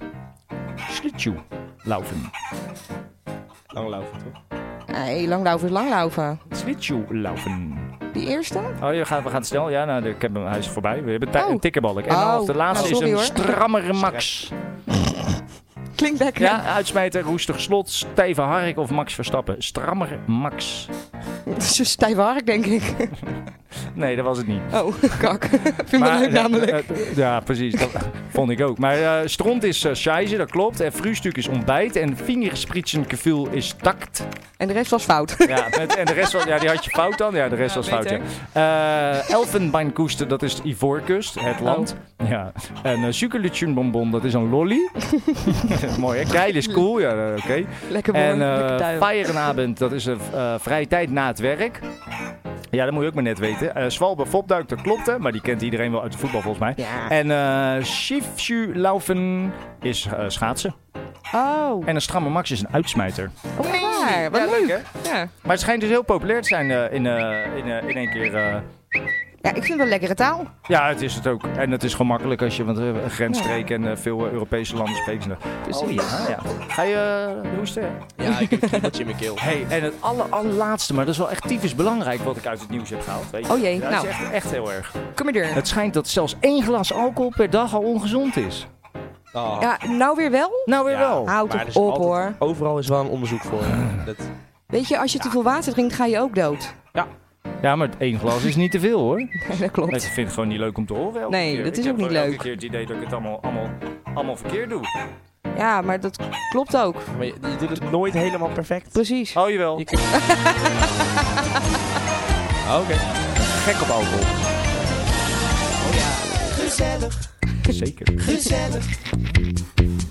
Slitschuhlaufen. Oh, Langlaufen, toch? Hey, langlaufen is langlaufen. Slitschuhlaufen. Die eerste? Oh, je gaat, we gaan snel. Ja, nou, ik heb hem, hij is voorbij. We hebben ti- Oh. een tikkenbalk. En Oh. als de laatste Nou, sorry, is hoor. een strammere max. Klinkt lekker. Ja, uitsmijter, roestig slot, stijve hark of max verstappen. Strammere max. Het is een stijve hark, denk ik. Nee, dat was het niet. Oh, kak. Vind ik wel leuk namelijk. eh, eh, ja, precies. Dat vond ik ook. Maar eh, stront is uh, dat klopt. En frühstuk is ontbijt. En vingerspritsengevoel is takt. En de rest was fout. Ja, met- en de rest was, ja, die had je fout dan? Ja, de rest Ja, was fout, ja. beter. Eh, Elfenbeinkoester, dat is Ivoorkust, het land. Oh. Ja. En uh, Sukerlutschenbonbon, dat is een lolly. Mooi, hè? Keil is cool, ja, eh, oké. Lekker mooi. En lekker eh duim. Feierenabend, dat is een eh, vrije tijd na het werk. Ja, dat moet je ook maar net weten. Eh Swalbe Fopduik, dat klopt, hè? Maar die kent iedereen wel uit de voetbal, volgens mij. Ja. En eh Schiefschuhlaufen is eh, schaatsen. Oh, En een stramme max is een uitsmijter. oh ja, waar. Wat Ja, leuk. hè? Ja. Maar het schijnt dus heel populair te zijn eh, in, eh, in, eh, in één keer. eh, Ja, ik vind het wel lekkere taal. Ja, het is het ook. En het is gewoon makkelijk als je, want eh, grensstreken en eh, veel eh, Europese landen spreken ze. Dus Oh, ja. ja. Hij uh, hoesten. Ja, ik heb wat in mijn keel. Hey, en het aller, allerlaatste, maar dat is wel echt typisch belangrijk wat ik uit het nieuws heb gehaald. Weet je? Oh jee, Ja, het nou. is echt, echt heel erg. Kom maar door. Het schijnt dat zelfs één glas alcohol per dag al ongezond is. Ja, nou weer wel? Nou weer wel. Houd Ah. maar er toch is op altijd- hoor. Overal is wel een onderzoek voor. ja. Dat, Weet je, als je te veel water drinkt, ga je ook dood. Ja, maar één glas is niet te veel hoor. dat klopt. Ik vind het gewoon niet leuk om te horen. elke Nee, keer. dat is ik heb ook niet gewoon leuk. elke keer het idee dat ik het allemaal, allemaal, allemaal verkeerd doe. Ja, maar dat klopt ook. maar je, je doet het nooit helemaal perfect. Precies. Oh jawel. Je kunt- Oké. Gek op alcohol. Oh, Gezellig, Zeker. gezellig.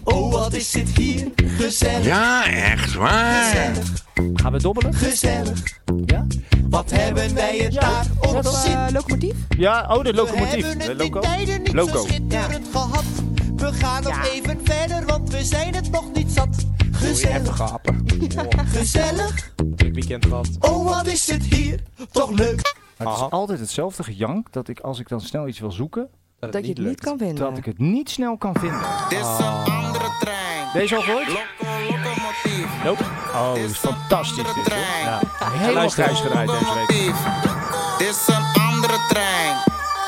Oh, wat is het hier gezellig. Ja, echt waar. Gaan we dobbelen? Gezellig. Ja? Wat hebben wij het daar op zitten? eh, locomotief? Ja, oh, de We locomotief. hebben De het in loco. tijden niet Loco. zo schitterend gehad. We gaan nog even verder, want we zijn het nog niet zat. Even Gezellig, gapen. gezellig. Dit weekend gehad. Oh, wat is het hier toch leuk. Maar het is altijd hetzelfde gejank dat ik als ik dan snel iets wil zoeken, Dat, Dat je het niet kan vinden. dat ik het niet snel kan vinden. Ah. Deze al gehoord? Nope. Oh, dit is fantastisch dit. hoor. Ja. Helemaal Luister. grijs gedraaid deze week. Dit is een andere trein.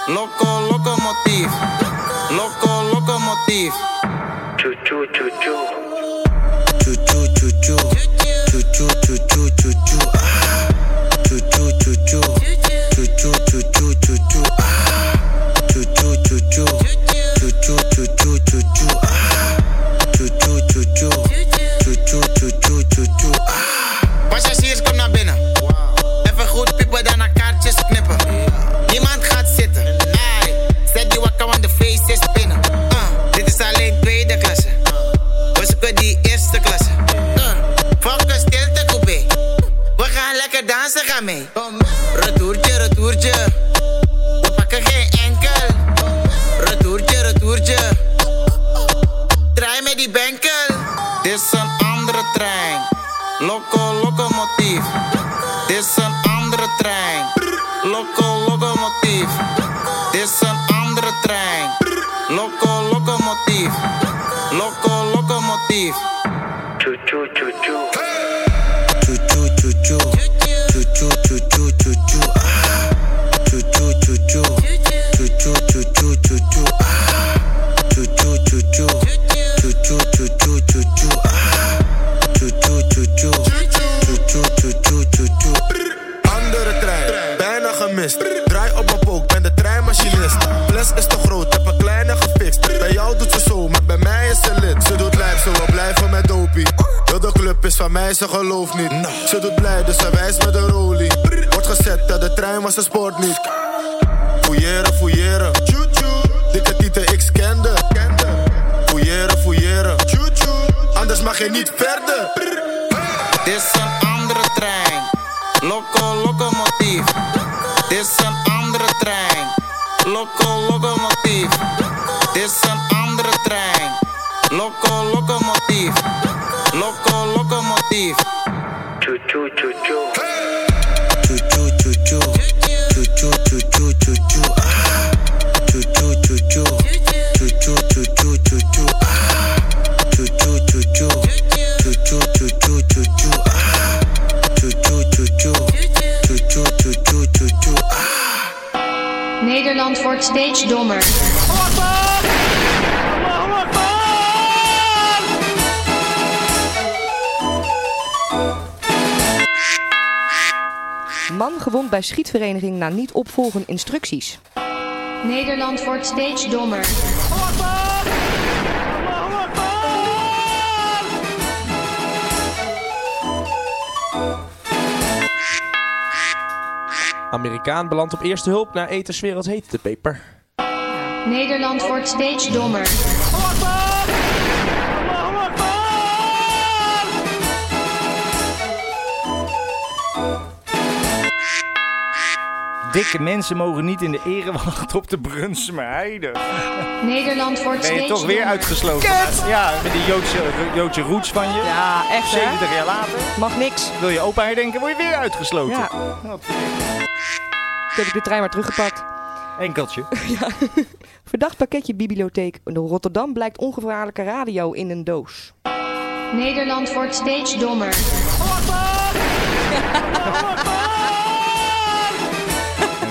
Loco, locomotief. Loco, locomotief. Choo, choo, choo, choo. Choo, choo, choo, choo, choo, choo. Ah. Choo, choo, choo, choo. Choo, choo, choo, choo, choo, choo. Ah. Choo, choo, choo, choo. Choo, choo, choo, choo, choo, choo. Ah. Choo, choo, choo, choo. Choo, choo, choo, choo, choo, choo. Ah. Passagiers, kom naar binnen. Even goed piepen, daarna kaartjes knippen. Niemand gaat zitten. Hey, zet die wakker, want de feest is binnen. Uh, dit is alleen tweede klasse. We zoeken die eerste klasse. Uh, Fuck een stilte coupé. We gaan lekker dansen, ga mee. Retourtje, retourtje. We pakken geen enkel. Retourtje, retourtje. Draai met die benkel. Dit is een andere trein. Loco, locomotief. Dit is een andere trein. Loco, locomotief. Dit is een andere trein. Loco, locomotief. Loco, locomotief. Choo, choo, choo, choo. Choo, choo, choo, choo, choo, choo. Ah. Choo, choo, choo, choo. Choo, choo, choo, choo, choo, choo. Ah. Choo, choo, choo, choo. Choo, choo, choo, choo, choo, choo. Ah. Choo, choo, choo, choo. Choo, choo, choo, choo, choo, choo. Andere trein, bijna gemist. Draai op mijn pook, ben de treinmachinist. Fles is te groot, heb een kleine gefixt. Bij jou doet ze zo, maar bij mij is ze lid. Ze doet lijf, zo we blijven met dopie. Heel de club is van mij, ze gelooft niet. Ze doet blij, dus ze wijst met een rolie. Wordt gezet, dat de trein was een sport niet. Fouilleren, fouilleren. Dikke tieten, ik scande. Fouilleren, fouilleren. Anders mag je niet verder. Dit is een andere trein. Loco, locomotief. Dit is een andere trein. Loco, locomotief. Dit is een andere trein. Loco, locomotief. Loco, locomotief. Choo choo choo choo. Choo choo choo choo choo choo. Ah. Choo choo choo choo. Choo choo choo choo choo choo. Ah. Choo choo choo choo. Choo choo choo choo choo choo. Ah. Choo choo choo choo. Choo choo choo choo choo choo. Ah. Nederland wordt steeds dommer. Man gewond bij schietvereniging na niet opvolgen instructies. Nederland wordt steeds dommer. Amerikaan belandt op eerste hulp na etenswereld heet de peper. Nederland wordt steeds dommer. Dikke mensen mogen niet in de erewacht op de Brunsme Heide. Nederland wordt Ben je steeds toch weer dommer. uitgesloten? Ja, met die Joodse, Joodse roots van je. Ja, echt hè? 70 jaar later. Mag niks. Wil je opa herdenken, word je weer uitgesloten. Ja. Toen heb ik de trein maar teruggepakt. Enkeltje. Verdacht pakketje bibliotheek in Rotterdam blijkt ongevaarlijke radio in een doos. Nederland wordt steeds dommer.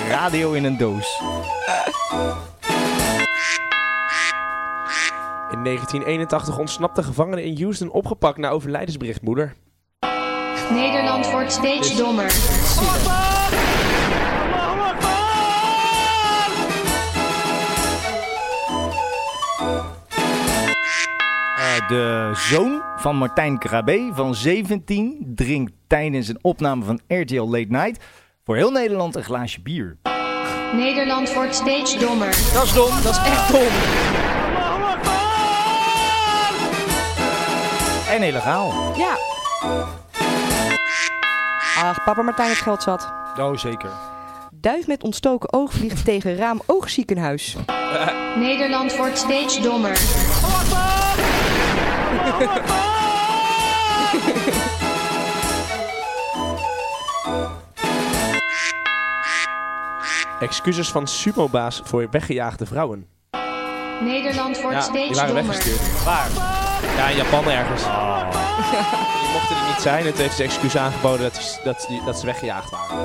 Radio in een doos. In 1981 ontsnapte gevangene in Houston opgepakt na overlijdensbericht, moeder. Nederland wordt steeds dommer. Eh, de zoon van Martijn Krabbe van 17 drinkt tijdens een opname van RTL Late Night voor heel Nederland een glaasje bier. Nederland wordt steeds dommer. Dat is dom, dat is echt dom. En illegaal. Ja. Ach, papa Martijn het geld zat. Oh, zeker. Duif met ontstoken oog vliegt tegen raam oogziekenhuis. Nederland wordt steeds dommer. Excuses van sumobaas voor weggejaagde vrouwen. Nederland wordt die steeds waren dommer. weggestuurd. Waar? Ja, in Japan ergens. Ah. Die mochten er niet zijn en toen heeft ze excuus aangeboden dat, ze- dat, die- dat ze weggejaagd waren.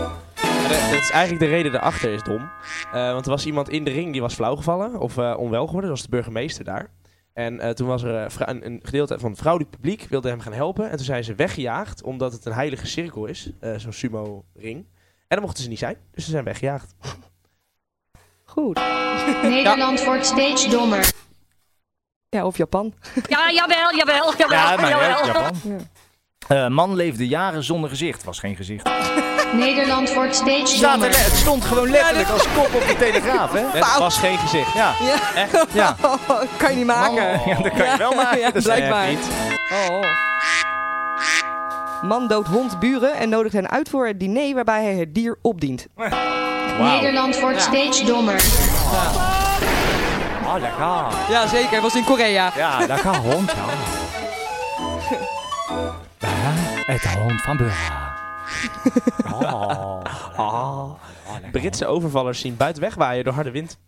Maar dat, dat is eigenlijk de reden daarachter is dom. Eh, want er was iemand in de ring die was flauwgevallen of eh, onwel geworden. Dat was de burgemeester daar. En eh, toen was er eh, vrou- een, een gedeelte van het vrouwelijk publiek wilde hem gaan helpen. En toen zijn ze weggejaagd omdat het een heilige cirkel is. eh, Zo'n sumo-ring. En dat mochten ze niet zijn. Dus ze zijn weggejaagd. Goed. Nederland wordt steeds dommer. Ja, of Japan. Ja, jawel, jawel, jawel, Ja, maar jawel. uit Japan. Eh, man leefde jaren zonder gezicht. Was geen gezicht. Nederland wordt steeds Staat er dommer. le- het stond gewoon letterlijk als kop op de Telegraaf, hè? Het was geen gezicht. Ja. Echt? Ja. Oh, Oh. kan je niet maken. Ja, dat kan je wel maken. Ja, Dat is blijkbaar. echt niet. Oh, oh. Man doodt hond buren en nodigt hen uit voor het diner waarbij hij het dier opdient. Nederland wordt steeds dommer. Oh, lekker. Ja, zeker. Was in Korea. Ja, lekker hond, ja. Ja, Ah, Het hond van Burra. Oh. Ah. Britse overvallers zien buiten wegwaaien door harde wind.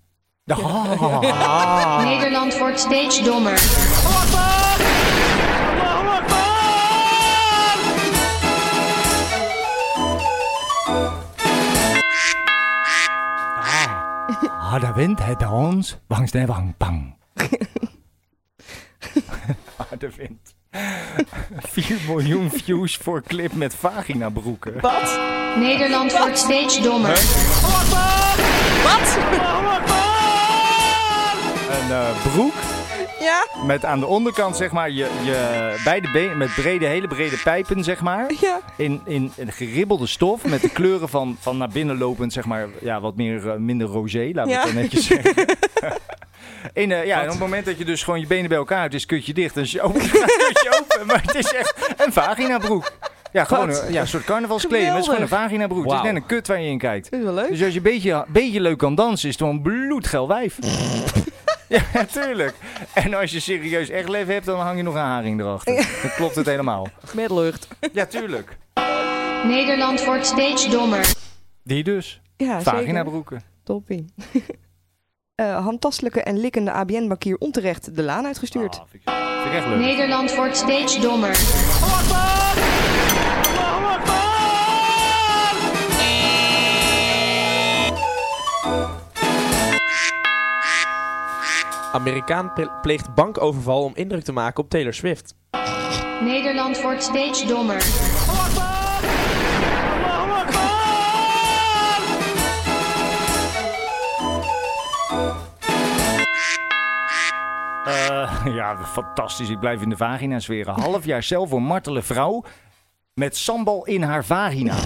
Ah. Nederland wordt steeds dommer. Ah, de wind het ons langs de wang bang. ah, de wind. 4 miljoen views voor clip met vagina broeken. Wat? Nederland wordt steeds dommer. Wat? Een eh, broek Ja? met aan de onderkant zeg maar je, je beide benen met brede, hele brede pijpen zeg maar. Ja. In, in, in geribbelde stof met de kleuren van, van naar binnen lopend zeg maar ja, wat meer, eh, minder rosé, laat ik Ja. het dan netjes zeggen. In, eh, ja, en op het moment dat je dus gewoon je benen bij elkaar hebt, is kutje dicht en is je open. kutje open maar het is echt een vaginabroek. Ja, gewoon Wat? een, ja, een soort carnavalskleding, maar het is gewoon een vaginabroek. Het is Wauw. net een kut waar je in kijkt. Dit is wel leuk. Dus als je een beetje, beetje leuk kan dansen, is het wel een bloedgeil wijf. ja, tuurlijk. En als je serieus echt lef hebt, dan hang je nog een haring erachter. Dan klopt het helemaal. Met lucht. Ja, tuurlijk. Nederland wordt steeds dommer. Die dus. Ja, Vagina zeker. broeken. Toppie. Eh, handtastelijke en likkende ABN-bankier onterecht de laan uitgestuurd. Ah, Vind ik echt leuk. Nederland wordt steeds dommer. Amerikaan ple- pleegt bankoverval om indruk te maken op Taylor Swift. Nederland wordt steeds dommer. Eh, ja, fantastisch. Ik blijf in de vagina zweren. Half jaar cel voor martele vrouw met sambal in haar vagina.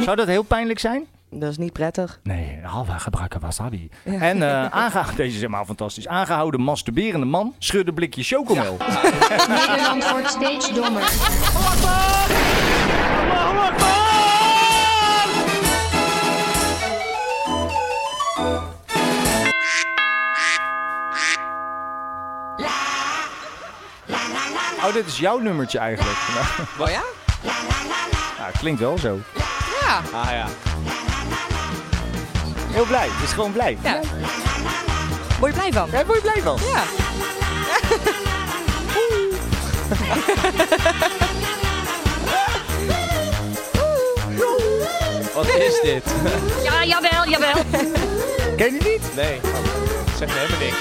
Zou dat heel pijnlijk zijn? Dat is niet prettig. Nee, halve gebruiken wasabi. Ja. En eh aangehouden, deze is helemaal fantastisch. Aangehouden masturberende man schudde blikje chocomel. Nederland wordt steeds dommer. Oh, dit is jouw nummertje eigenlijk. Nou, Oh ja? nou, klinkt wel zo. Ja. Ah ja. Heel blij. Is gewoon blij. Ja. Word je blij van? Ja, word je blij van? Ja. Wat is dit? Ja, jawel, jawel. Ken je niet? Nee. Zeg me helemaal niks.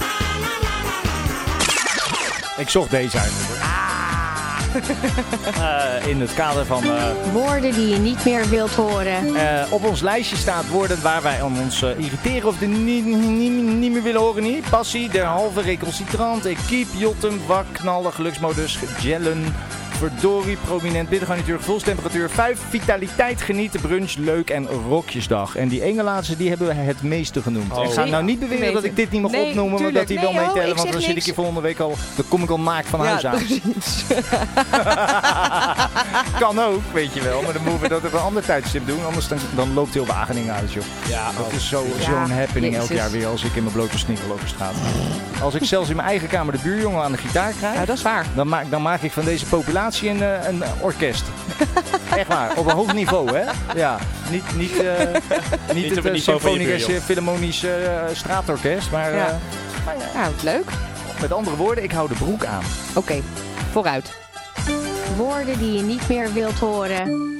Ik zocht deze eigenlijk. hoor. Ah. Eh, in het kader van... eh, Woorden die je niet meer wilt horen. Eh, op ons lijstje staat woorden waar wij aan ons eh, irriteren of die niet, niet, niet meer willen horen. Niet. Passie, derhalve, recalcitrant, equipe, jotten, wak, knallen, geluksmodus, gellen, verdorie, prominent, bittergarnituur, gevoelstemperatuur, vijf, vitaliteit, genieten, brunch, leuk en rokjesdag. En die ene laatste, die hebben we het meeste genoemd. Oh. Ik ga nou niet beweren Weten. dat ik dit niet mag Nee, opnoemen, want dat die tuurlijk. Nee, wel joh, meetellen, ik want zeg dan zit ik niks. hier volgende week al, dan kom ik al maak van huis aan. kan ook, weet je wel. Maar dan moeten we dat op een ander tijdstip doen. Anders dan, dan loopt heel Wageningen uit, joh. Ja, dat oh. is zo- Ja, zo'n happening elk jezus. jaar weer als ik in mijn blote sneaker over straat ga. Als ik zelfs in mijn eigen kamer de buurjongen aan de gitaar krijg... Ja, dat is waar. Dan maak, dan maak ik van deze populatie een, eh, een orkest. Echt waar, op een hoog niveau, hè? Ja, niet, niet, eh, niet, op het het eh, niveau van je Symfonisch buurjongen. eh, Philharmonisch eh, Straatorkest, maar... Ja. eh, Nou, leuk. met andere woorden, ik hou de broek aan. Oké, vooruit. Woorden die je niet meer wilt horen.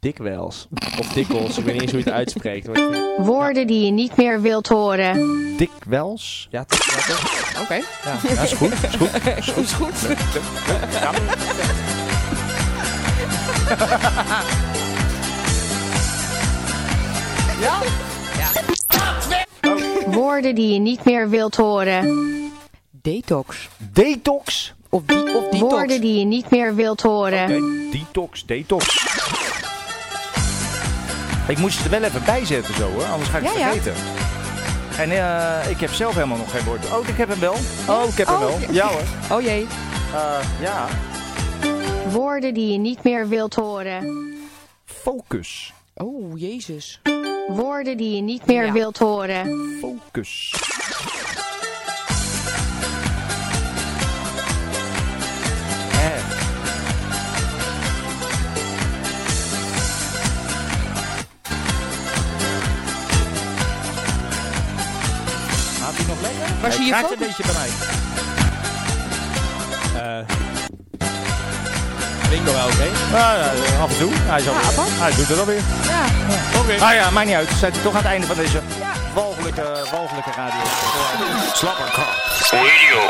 Dikwels. Of dikkels, ik weet niet eens hoe je het uitspreekt. maar ik vind- Woorden die je niet meer wilt horen. Dikwels? Ja, toch? Ja, toch? Oké. Ja, ja, is goed. Is goed. Is goed. Is goed. Ja. Ja? Woorden die je niet meer wilt horen. Detox. Detox? Of, die, of detox. Woorden die je niet meer wilt horen. Detox, detox. Ik moest het er wel even bij zetten zo hoor, anders ga ik het Ja, ja. vergeten. En eh, ik heb zelf helemaal nog geen woord. Oh, ik heb hem wel. Oh, ik heb hem wel. Ja hoor. Eh, Oh jee. ja. Woorden die je niet meer wilt horen. Focus. Oh, jezus. Woorden die je niet meer Ja. wilt horen. Focus. Eh, Gaat hij nog lekker? Waar zie je gaat een focus? beetje bij mij. Winkel wel, oké? Ja, ja, Eh, af en toe. Hij, is Ah, alweer- hij doet het alweer. Ja. Oké. Ah ja, maakt niet uit. We zijn toch aan het einde van deze walgelijke, walgelijke radio. Slapperkak. Radio.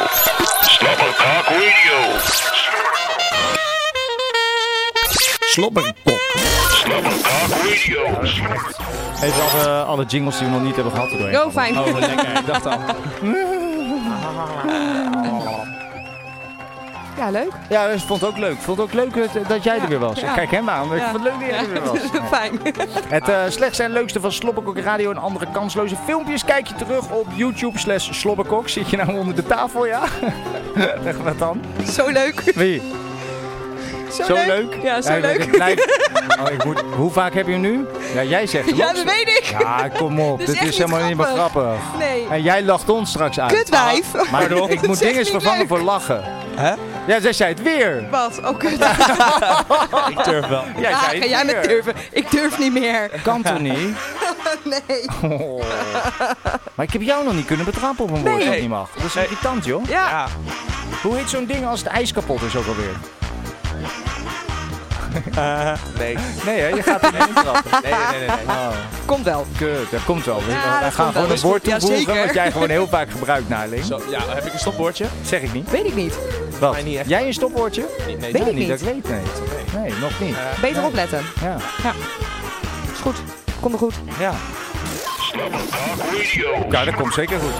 Slobberkok Radio. Slobberkok. Slobberkok Radio. Even alle, alle jingles die we nog niet hebben gehad. er doorheen. Go, fijn. Oh, wat lekker. Ik dacht al. Ah. Ja, leuk. Ja, ik vond het ook leuk. Ik vond het ook leuk het- dat jij er weer was. Ja. Kijk hem aan. Ik Ja. vond het leuk dat jij er weer Ja, was. Fijn. Het eh, slechtste en leukste van Slobberkok Radio en andere kansloze filmpjes kijk je terug op YouTube slash Slobberkok. Zit je nou onder de tafel, ja? Echt wat dan? Zo leuk. Wie? Zo, leuk. Ja, zo Hij werd leuk. echt blij. Oh, ik moet, hoe vaak heb je hem nu? Ja, jij zegt hem Ja, ook dat zo. weet ik. Ja, kom op. Dat Dit is echt is niet helemaal niet meer grappig. Nee. En jij lacht ons straks uit. Kutwijf. Ah, Maar Dat ik is moet echt dingen niet vervangen leuk. voor lachen. Hè? Ja, zij zei het weer. Wat? Oh, kut. Ik durf wel. Jij Ja, zei ga het jij weer. met durven. Ik durf niet meer. Kan toch niet? nee. Oh. Maar ik heb jou nog niet kunnen betrappen op een woord dat Nee. niet mag. Dat is irritant, joh. Ja. Hoe heet zo'n ding als het ijs kapot is ook alweer? Eh, nee. Nee, hè? Je gaat er niet in trappen. Nee, nee, nee, nee. nee. Oh, Komt wel. kut. Dat komt wel. We Ja, Wij dat gaan komt wel. gewoon een Dat woord is goed. Ja, toevoegen zeker. wat jij gewoon heel vaak gebruikt, Naling. Zo, ja, heb ik een stopwoordje? Zeg ik niet. Weet ik niet. Wat? Mij niet echt. Jij een stopwoordje? Nee, Eh, nee, Weet Ja, ik niet niet. dat ik weet, nee. Nee, nog niet. Beter Eh, Nee. opletten. Ja. Ja. Is goed. Komt er goed. Ja. Ja, dat komt zeker goed.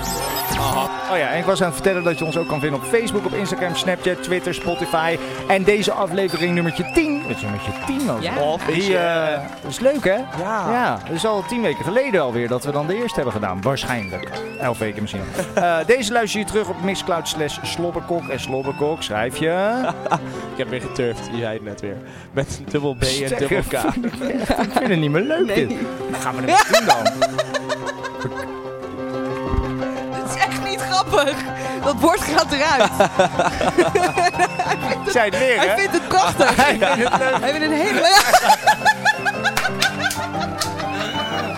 Oh ja, en ik was aan het vertellen dat je ons ook kan vinden op Facebook, op Instagram, Snapchat, Twitter, Spotify. En deze aflevering nummertje 10. Dat is nummertje 10 ook. Ja. Of is Die, je- eh, dat is leuk, hè? Ja. Ja, dat is al tien weken geleden alweer dat we dan de eerste hebben gedaan. Waarschijnlijk. Elf weken misschien. Eh, deze luister je terug op mixcloud slash slobberkok. En slobberkok schrijf je... Ik heb weer geturfd, je zei het net weer. Met een dubbel B en Zeg, dubbel K. ik vind het niet meer leuk, Nee. dit. Wat gaan we ermee doen dan? Het is echt niet grappig. Dat woord gaat eruit. Zij het weer, Hij hè? vindt het prachtig. Hij vindt het leuk. Hij vindt het helemaal...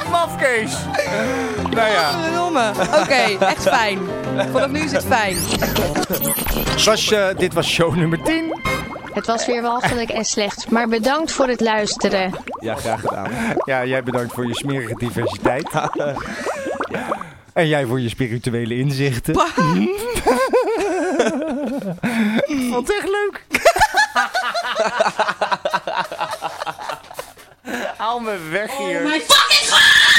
Ja. af, Kees. Nou ja. Oké, echt fijn. Vanaf nu is het fijn. Sasje, dit was show nummer 10. Het was weer walgelijk en slecht, maar bedankt voor het luisteren. Ja, graag gedaan. Ja, jij bedankt voor je smerige diversiteit. En jij voor je spirituele inzichten. Ik vond het echt leuk. Haal me weg hier. Oh, fucking god!